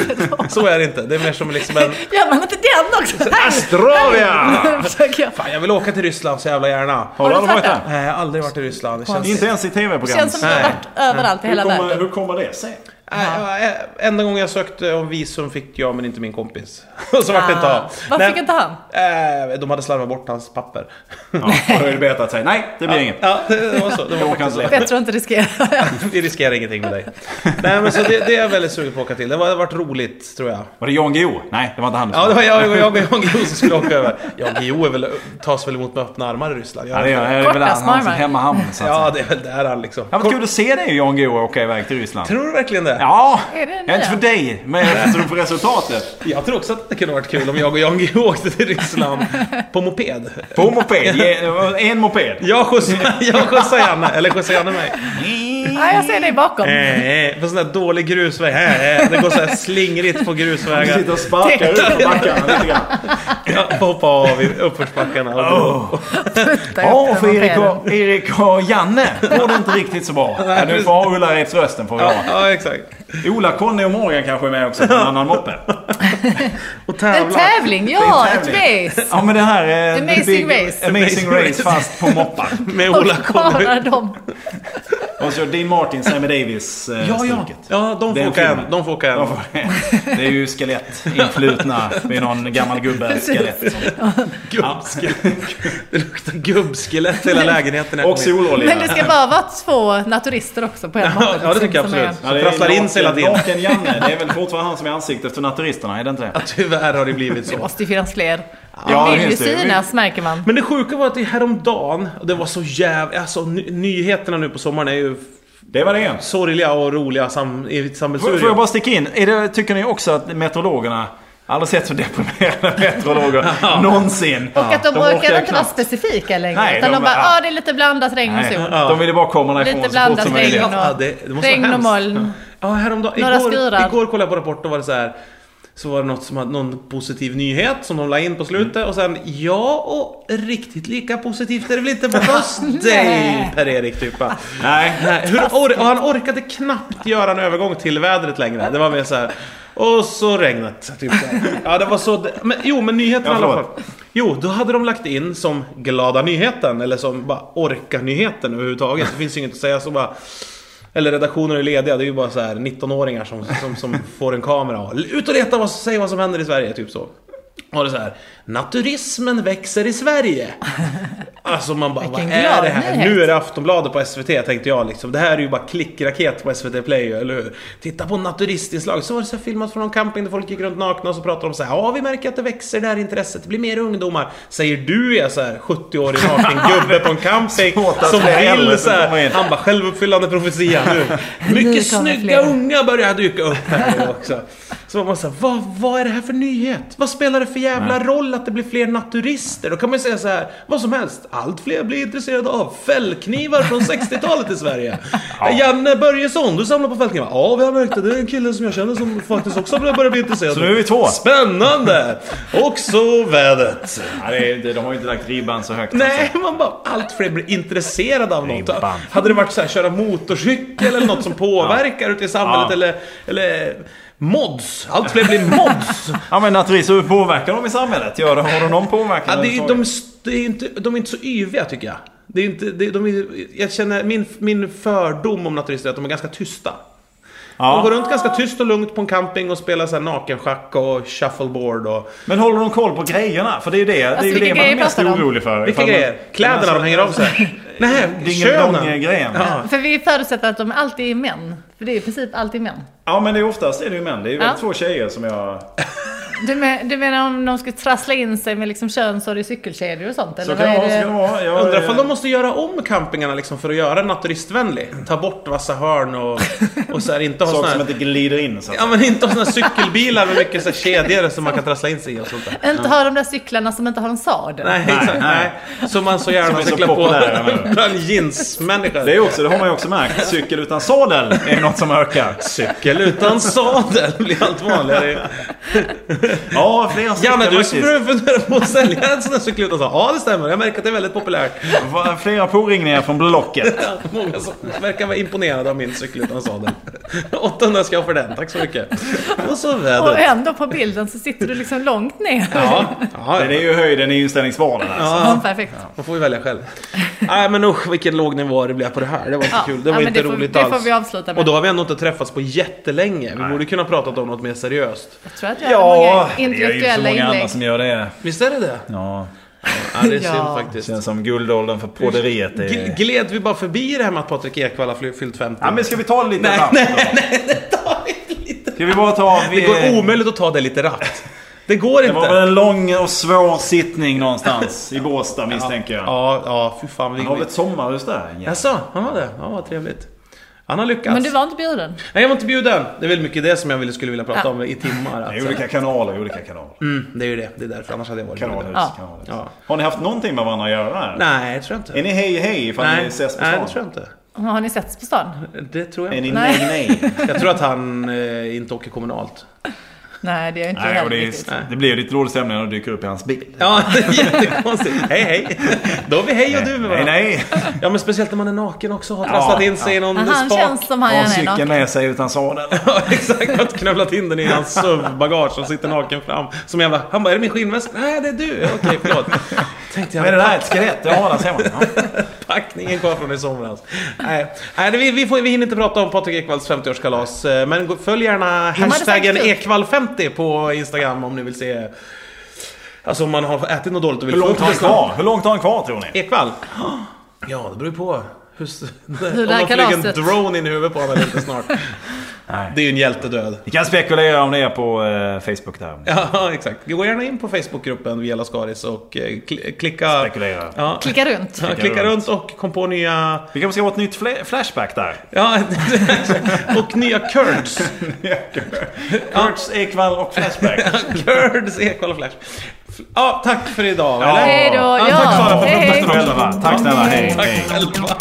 Speaker 1: Så är det inte. Det är mer som liksom en...
Speaker 3: Gör man inte den också?
Speaker 2: Astravia!
Speaker 3: Nu försöker jag.
Speaker 1: Fan, jag vill åka till Ryssland så jävla gärna.
Speaker 2: Har du
Speaker 3: du
Speaker 2: aldrig varit
Speaker 3: sett
Speaker 2: där?
Speaker 3: den?
Speaker 1: Nej, jag har aldrig varit i Ryssland. Det känns...
Speaker 2: Inte ens i
Speaker 3: Det
Speaker 2: tv-program.
Speaker 3: känns som att jag har varit överallt i
Speaker 2: hur,
Speaker 3: hela
Speaker 2: kommer,
Speaker 3: världen.
Speaker 2: hur kommer det sig?
Speaker 1: Äh, äh, enda gången jag sökte om visum fick jag men inte min kompis. Och så vart det inte av.
Speaker 3: Varför
Speaker 1: Nej,
Speaker 3: Ah. fick inte han?
Speaker 1: Äh, de hade slarvat bort hans papper.
Speaker 2: Ja, då har det betat sig. Nej, det blir inget.
Speaker 1: Ja, det var så. Det var
Speaker 2: Jag orkar
Speaker 1: faktiskt
Speaker 2: inte
Speaker 1: så.
Speaker 2: leta.
Speaker 3: Jag tror inte det ska
Speaker 1: Vi riskerar ingenting med dig. Nej men så det, det är jag väldigt sugen på att åka till. Det var- det har varit roligt tror jag.
Speaker 2: Var det Jan Guillou? Nej, det var inte han.
Speaker 1: Ja, det var jag och jag och Jan Guillou som skulle åka över. Jan Guillou är väl, tas väl emot med öppna armar i Ryssland?
Speaker 2: Ja,
Speaker 1: Gör
Speaker 2: det är, det är väl
Speaker 3: Korta
Speaker 2: han, han som
Speaker 3: smarvar.
Speaker 2: hemmahamn. Så att
Speaker 1: ja,
Speaker 2: säga.
Speaker 1: det är väl där han liksom.
Speaker 2: Ja, vad kul att se dig Jan Guillou åka iväg till Ryssland.
Speaker 1: Tror du verkligen det?
Speaker 2: Ja,
Speaker 3: Är det
Speaker 2: inte för
Speaker 3: det?
Speaker 2: dig, men efter för resultatet.
Speaker 1: Jag tror också att det kunde varit kul om jag och Jan Guillou åkte till Ryssland på moped.
Speaker 2: På moped, ge- en moped.
Speaker 1: Jag skjutsar, jag skjutsar Janne, eller skjutsar Janne mig.
Speaker 3: Ja, jag ser dig bakom.
Speaker 1: Eh, eh, På sån där dålig grusväg. Eh, eh, Det går så här slingrigt på
Speaker 2: Du
Speaker 1: grusvägar.
Speaker 2: sitter och sparkar ut på backarna lite grann.
Speaker 1: Jag får hoppa av i uppförsbackarna. Och
Speaker 3: Där
Speaker 2: Ja,
Speaker 3: uppe
Speaker 2: för
Speaker 3: på
Speaker 2: Erik
Speaker 3: mopeden.
Speaker 2: och, Erik och Janne går det inte riktigt så bra. Ja, nu får ha Ullareds rösten får vi
Speaker 1: ja,
Speaker 2: ha.
Speaker 1: ja, exakt.
Speaker 2: Ola, Conny och Morgan kanske är med också på en annan moppe.
Speaker 1: Och
Speaker 3: En
Speaker 1: tävla.
Speaker 3: tävling,
Speaker 2: Det är
Speaker 3: ja!
Speaker 2: en
Speaker 3: Ett
Speaker 2: tävling.
Speaker 3: race!
Speaker 2: Ja men det här är...
Speaker 3: Amazing
Speaker 2: Big-
Speaker 3: Race.
Speaker 2: Amazing
Speaker 1: Amazing
Speaker 2: Race fast på moppar.
Speaker 1: Med
Speaker 3: Och
Speaker 1: Ola
Speaker 3: bara
Speaker 1: kommer.
Speaker 3: dem.
Speaker 2: Och så Dean Martin, Sammy Davis eh,
Speaker 1: Ja, ja.
Speaker 2: stuket.
Speaker 1: ja, de får
Speaker 2: Den
Speaker 1: åka
Speaker 2: filmen.
Speaker 1: hem. De får åka hem.
Speaker 2: Det är ju skelett influtna vid någon gammal gubbe. Skelett.
Speaker 1: Gubbskelett. Det luktar gubbskelett i hela lägenheten. när jag
Speaker 2: Och
Speaker 1: kommer in.
Speaker 2: sololja.
Speaker 3: Men det ska bara vara två naturister också på en moppe.
Speaker 1: Ja, det tycker jag
Speaker 3: som är-
Speaker 1: absolut. Som trasslar in sig hela tiden.
Speaker 2: Naken-Janne. Det är väl fortfarande han som är ansiktet för naturisterna, är det inte det?
Speaker 1: Tyvärr har det blivit
Speaker 3: Det
Speaker 1: så.
Speaker 3: måste ju finnas fler.
Speaker 2: Ja,
Speaker 3: De vill ju
Speaker 2: just det.
Speaker 3: synas märker man.
Speaker 1: Men det sjuka var att det häromdagen, och det var så jävla... Alltså ny- nyheterna nu på sommaren är ju
Speaker 2: Det var det igen.
Speaker 1: sorgliga och roliga sam, i ett
Speaker 2: Får,
Speaker 1: sammelsurium.
Speaker 2: får jag bara sticka in? Är det, tycker ni också att meteorologerna Aldrig sett så deprimerade meteorologer någonsin.
Speaker 3: Och att de,
Speaker 2: De orkar
Speaker 3: orkar inte vara
Speaker 2: knappt.
Speaker 3: specifika längre.
Speaker 2: Nej,
Speaker 3: utan
Speaker 2: de
Speaker 3: de, bara,
Speaker 2: bara,
Speaker 3: ja ah, det är lite blandat regn och
Speaker 2: Nej,
Speaker 3: sol.
Speaker 2: de ville bara komma därifrån så
Speaker 3: Lite
Speaker 2: fort
Speaker 3: blandat
Speaker 2: som
Speaker 3: regn
Speaker 2: möjligt.
Speaker 3: och,
Speaker 1: Ja, det- det måste vara
Speaker 3: regn och
Speaker 1: hemskt.
Speaker 3: moln.
Speaker 1: Ja, häromdagen.
Speaker 3: Några
Speaker 1: igår,
Speaker 3: skurar.
Speaker 1: igår kollade jag på Rapport och var det så här. Så var det något som hade någon positiv nyhet som de la in på slutet
Speaker 3: Mm.
Speaker 1: och sen ja och riktigt lika positivt är det väl inte på hos dig
Speaker 3: Nej.
Speaker 1: Per-Erik typ. va?
Speaker 2: Nej,
Speaker 1: Nej, hur or- och han orkade knappt göra en övergång till vädret längre. Det var mer så här. Och så regnet. Typ så här. Ja, det var så. Men, jo, men nyheten
Speaker 2: Ja,
Speaker 1: i alla fall.
Speaker 2: förlåt.
Speaker 1: Jo, då hade de lagt in som glada nyheten eller som bara orka-nyheten överhuvudtaget. Det finns ju inget att säga så bara. Eller redaktionen är lediga, det är ju bara så här 19-åringar som, som, som får en kamera och ut och leta vad, säg vad som händer i Sverige, typ så. var det så här, naturismen växer i Sverige. Alltså man bara, vad
Speaker 3: Vilken
Speaker 1: är
Speaker 3: glad
Speaker 1: det här?
Speaker 3: nyhet.
Speaker 1: Nu är det Aftonbladet på SVT tänkte jag liksom. Det här är ju bara klickraket på SVT Play, eller hur? Titta på naturistinslag. Så var det så här filmat från någon camping där folk gick runt nakna och så pratade de så här, ja vi märker att det växer det här intresset, det blir mer ungdomar. Säger du är så här 70-årig naken gubbe på en camping
Speaker 2: Svårt att
Speaker 1: som
Speaker 2: det är
Speaker 1: vill
Speaker 2: äldre
Speaker 1: så
Speaker 2: som kommer
Speaker 1: här,
Speaker 2: in.
Speaker 1: han bara självuppfyllande profetia nu.
Speaker 3: Nu
Speaker 1: Mycket
Speaker 3: kommer
Speaker 1: snygga
Speaker 3: fler.
Speaker 1: unga börjar dyka upp här nu också. Så var man såhär, vad, vad är det här för nyhet? Vad spelar det för jävla roll att det blir fler naturister? Då kan man ju säga så här, vad som helst. Allt fler blir intresserade av fällknivar från 60-talet i Sverige. Janne Börjesson, du samlar på fällknivar. Ja, vi har märkt det. Det är en kille som jag känner som faktiskt också börjar bli intresserad.
Speaker 2: Så nu är vi två.
Speaker 1: Spännande! Och så vädret.
Speaker 2: Ja, det är, det, de har ju inte lagt ribban så högt. alltså.
Speaker 1: Nej, man bara allt fler blir intresserade av något.
Speaker 2: Ribban.
Speaker 1: Hade det varit så här, köra motorcykel eller något som påverkar ute i samhället
Speaker 2: Ja.
Speaker 1: eller, eller mods. Allt fler blir mods.
Speaker 2: Ja men naturligtvis, hur påverkar de i samhället? Ja, då har de någon påverkan
Speaker 1: Ja, det är, ju- de,
Speaker 2: överhuvudtaget?
Speaker 1: det är ju inte, de är inte så yviga tycker jag. Det är inte, det, de är, jag känner, min, min fördom om naturister är att de är ganska tysta. De går
Speaker 2: ja.
Speaker 1: runt ganska tyst och lugnt på en camping och spelar så här nakenschack och shuffleboard och...
Speaker 2: Men håller de koll på grejerna? För det är ju det, det, är ju
Speaker 3: Alltså, vilka
Speaker 2: det man är
Speaker 3: grejer
Speaker 2: mest
Speaker 3: pratar de om?
Speaker 2: orolig för.
Speaker 1: Vilka
Speaker 2: Ifall man-
Speaker 1: grejer? Kläderna
Speaker 2: Men alltså-
Speaker 1: de hänger av sig. Nej, könen.
Speaker 2: Dingelong-grejen.
Speaker 1: Ja.
Speaker 3: För vi förutsätter att de alltid är män. För det är i princip alltid män.
Speaker 2: Ja men det är oftast är det ju män. Det är ju
Speaker 3: Ja.
Speaker 2: väl två tjejer som jag...
Speaker 3: Du, men, du menar om de skulle trassla in sig med liksom könshår i cykelkedjor och sånt? Eller
Speaker 2: Så
Speaker 3: vad
Speaker 2: kan det
Speaker 3: är
Speaker 2: vara. Så
Speaker 3: det?
Speaker 2: kan det vara. Jag,
Speaker 1: Undrar ifall
Speaker 2: eh,
Speaker 1: de måste göra om campingarna liksom för att göra den naturistvänlig. Ta bort vassa hörn och, och så här, inte ha såna
Speaker 2: Saker som
Speaker 1: här,
Speaker 2: inte glider in så att
Speaker 1: Ja men inte ha såna här cykelbilar med mycket så här kedjor som man kan trassla in sig i och sånt där.
Speaker 3: Inte ha de där cyklarna som inte har en sadel.
Speaker 1: Nej, exakt, nej. Som man så
Speaker 2: Som
Speaker 1: gärna
Speaker 2: är så
Speaker 1: cyklar på
Speaker 2: populära nu.
Speaker 1: bland jeansmänniskor.
Speaker 2: Det, är också, det har man ju också märkt. Cykel utan sadel är något som ökar.
Speaker 1: Cykel utan sadel blir allt vanligare.
Speaker 2: Ja, flera stycken
Speaker 1: Janne, du
Speaker 2: faktiskt.
Speaker 1: skulle fundera på att sälja en sån där cykel utan sadel. Ja, det stämmer. Jag märker att det är väldigt populärt.
Speaker 2: Va- Flera påringningar från Blocket.
Speaker 1: Ja, Många som verkar vara imponerade av min cykel utan sadel. 800 ska jag för den, tack så mycket. Och så
Speaker 3: Och
Speaker 1: vädret.
Speaker 3: ändå på bilden så sitter du liksom långt ner.
Speaker 1: Ja, ja,
Speaker 2: Det är ju höjden i inställningsvalen alltså.
Speaker 3: Ja, perfekt.
Speaker 1: Man får ju välja själv. Nej men usch vilken låg nivå det blev på det här. Det var inte
Speaker 3: Ja,
Speaker 1: kul. Det var
Speaker 3: ja, men
Speaker 1: inte
Speaker 3: det får-
Speaker 1: roligt
Speaker 3: det
Speaker 1: alls.
Speaker 3: får vi avsluta med.
Speaker 1: Och då har vi ändå inte träffats på jättelänge. Vi borde kunna pratat om något mer seriöst.
Speaker 3: Jag tror att jag har
Speaker 2: Ja,
Speaker 3: många
Speaker 2: det är ju så
Speaker 3: intellektuella
Speaker 2: många andra
Speaker 3: inlägg.
Speaker 2: som gör det.
Speaker 1: Visst är det det?
Speaker 2: Ja,
Speaker 1: Ja, det är synd
Speaker 3: Ja.
Speaker 1: faktiskt.
Speaker 2: känns som guldåldern för podderiet. Det
Speaker 1: Gl-
Speaker 2: är...
Speaker 1: Gled vi bara förbi det här med att Patrik Ekwall har fly- fyllt 50?
Speaker 2: Ja, men ska vi ta det lite
Speaker 1: Nej,
Speaker 2: snabbt
Speaker 1: nej,
Speaker 2: då? Ska vi bara ta... Vi...
Speaker 1: Det går omöjligt att ta det lite rappt. Det går
Speaker 2: Det
Speaker 1: inte.
Speaker 2: var väl en lång och svår sittning någonstans i Båstad misstänker jag.
Speaker 1: Ja, ja, fy fan.
Speaker 2: Han har väl
Speaker 1: Vi...
Speaker 2: ett sommarhus där? Ja.
Speaker 1: Jaså, han var det? Ja, vad trevligt. Han har lyckats.
Speaker 3: Men du var inte bjuden.
Speaker 1: Nej, jag var inte bjuden. Det är väl mycket det som jag ville- skulle vilja prata
Speaker 3: Ja.
Speaker 1: om i timmar.
Speaker 2: Det
Speaker 1: Alltså.
Speaker 2: är olika kanaler, olika kanaler.
Speaker 1: Mm, det är ju det. Det är därför. Annars hade jag varit bjuden.
Speaker 2: Kanalhus,
Speaker 3: Ja.
Speaker 2: kanalhus.
Speaker 1: Ja.
Speaker 2: Har ni haft någonting med varandra att göra? här?
Speaker 1: Nej, det tror jag inte.
Speaker 2: Är ni hej hej ifall ni ses på
Speaker 1: nej,
Speaker 2: stan?
Speaker 1: det tror jag inte.
Speaker 3: Har ni setts på stan?
Speaker 1: Det tror jag
Speaker 2: Är
Speaker 1: inte.
Speaker 2: ni
Speaker 3: Nej.
Speaker 2: nej nej?
Speaker 1: Jag tror att han eh, inte åker kommunalt.
Speaker 3: Nej, det är jag inte
Speaker 2: nej, och
Speaker 3: heller
Speaker 2: det,
Speaker 3: riktigt.
Speaker 2: är, det blir ju lite dålig stämning när du dyker upp i hans bil.
Speaker 1: Ja, det är jättekonstigt. Hej, hej. Då är vi hej och du med
Speaker 2: Nej
Speaker 1: varandra.
Speaker 2: nej!
Speaker 1: Ja, men speciellt när man är naken också. Har trasslat in sig i någon
Speaker 3: Men Han
Speaker 1: spak.
Speaker 3: känns som han
Speaker 2: Har
Speaker 3: gärna är
Speaker 2: cykeln
Speaker 3: naken.
Speaker 2: med sig utan sadel.
Speaker 1: Ja, exakt. Att knövlat in den i hans SUV-bagage som sitter naken fram. Som jävla... Han bara, är det min skinnväska? Nej, det är du. Ja, Okej, förlåt. Tänkte
Speaker 2: Vad är det
Speaker 1: jag,
Speaker 2: där? Ett skelett? Ja, där ser man. Ja.
Speaker 1: packningen kvar från i somras. Nej, Nej det- vi, vi, får, vi hinner inte prata om Patrik Ekwalls 50-årskalas. eh, Men gå- följ gärna
Speaker 3: hade
Speaker 1: hashtaggen
Speaker 3: sagt det.
Speaker 1: Ekwall50 på Instagram om ni vill se... Alltså om man har ätit något dåligt och vill
Speaker 2: Hur långt
Speaker 1: upp
Speaker 2: har han
Speaker 1: det snabbt.
Speaker 2: kvar? Hur långt har han kvar tror ni?
Speaker 1: Ekwall? Ja, det beror ju på. Hur,
Speaker 3: det här
Speaker 1: om de flyger
Speaker 3: kalaset-
Speaker 1: en drone in i huvudet på honom eller inte snart.
Speaker 2: Nej.
Speaker 1: Det är ju en hjältedöd.
Speaker 2: Ni kan spekulera om det är på eh, Facebook där.
Speaker 1: Ja, exakt. Gå gärna in på Facebookgruppen Via Lascaris och eh, kli- klicka...
Speaker 2: Spekulera.
Speaker 1: Ja,
Speaker 3: Klicka runt.
Speaker 1: ja, klicka runt och kom på nya...
Speaker 2: Vi kanske ska ha ett nytt fle- Flashback där.
Speaker 1: Ja, och nya Kurds.
Speaker 2: Kurtz, Ekvall och Flashback.
Speaker 1: Kurds, Ekwall och Flash. F- Ja, tack för idag.
Speaker 2: Ja.
Speaker 1: Eller?
Speaker 3: Hej då,
Speaker 2: Ja,
Speaker 3: ja.
Speaker 2: Tack Sara för
Speaker 3: Hej, hej.
Speaker 2: att du själva. Tack snälla. Hej, hej.
Speaker 1: Tack själva.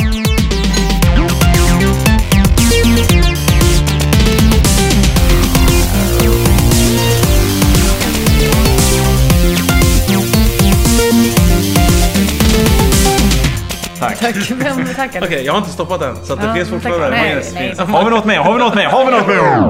Speaker 2: Tack.
Speaker 3: Tack. Vem tackar du?
Speaker 1: Okej, jag har inte stoppat den, så att det
Speaker 3: Ja,
Speaker 1: finns
Speaker 3: men
Speaker 1: fortfarande.
Speaker 3: tack. Nej, nej.
Speaker 2: Har vi något mer? Har vi något mer? Har vi något mer?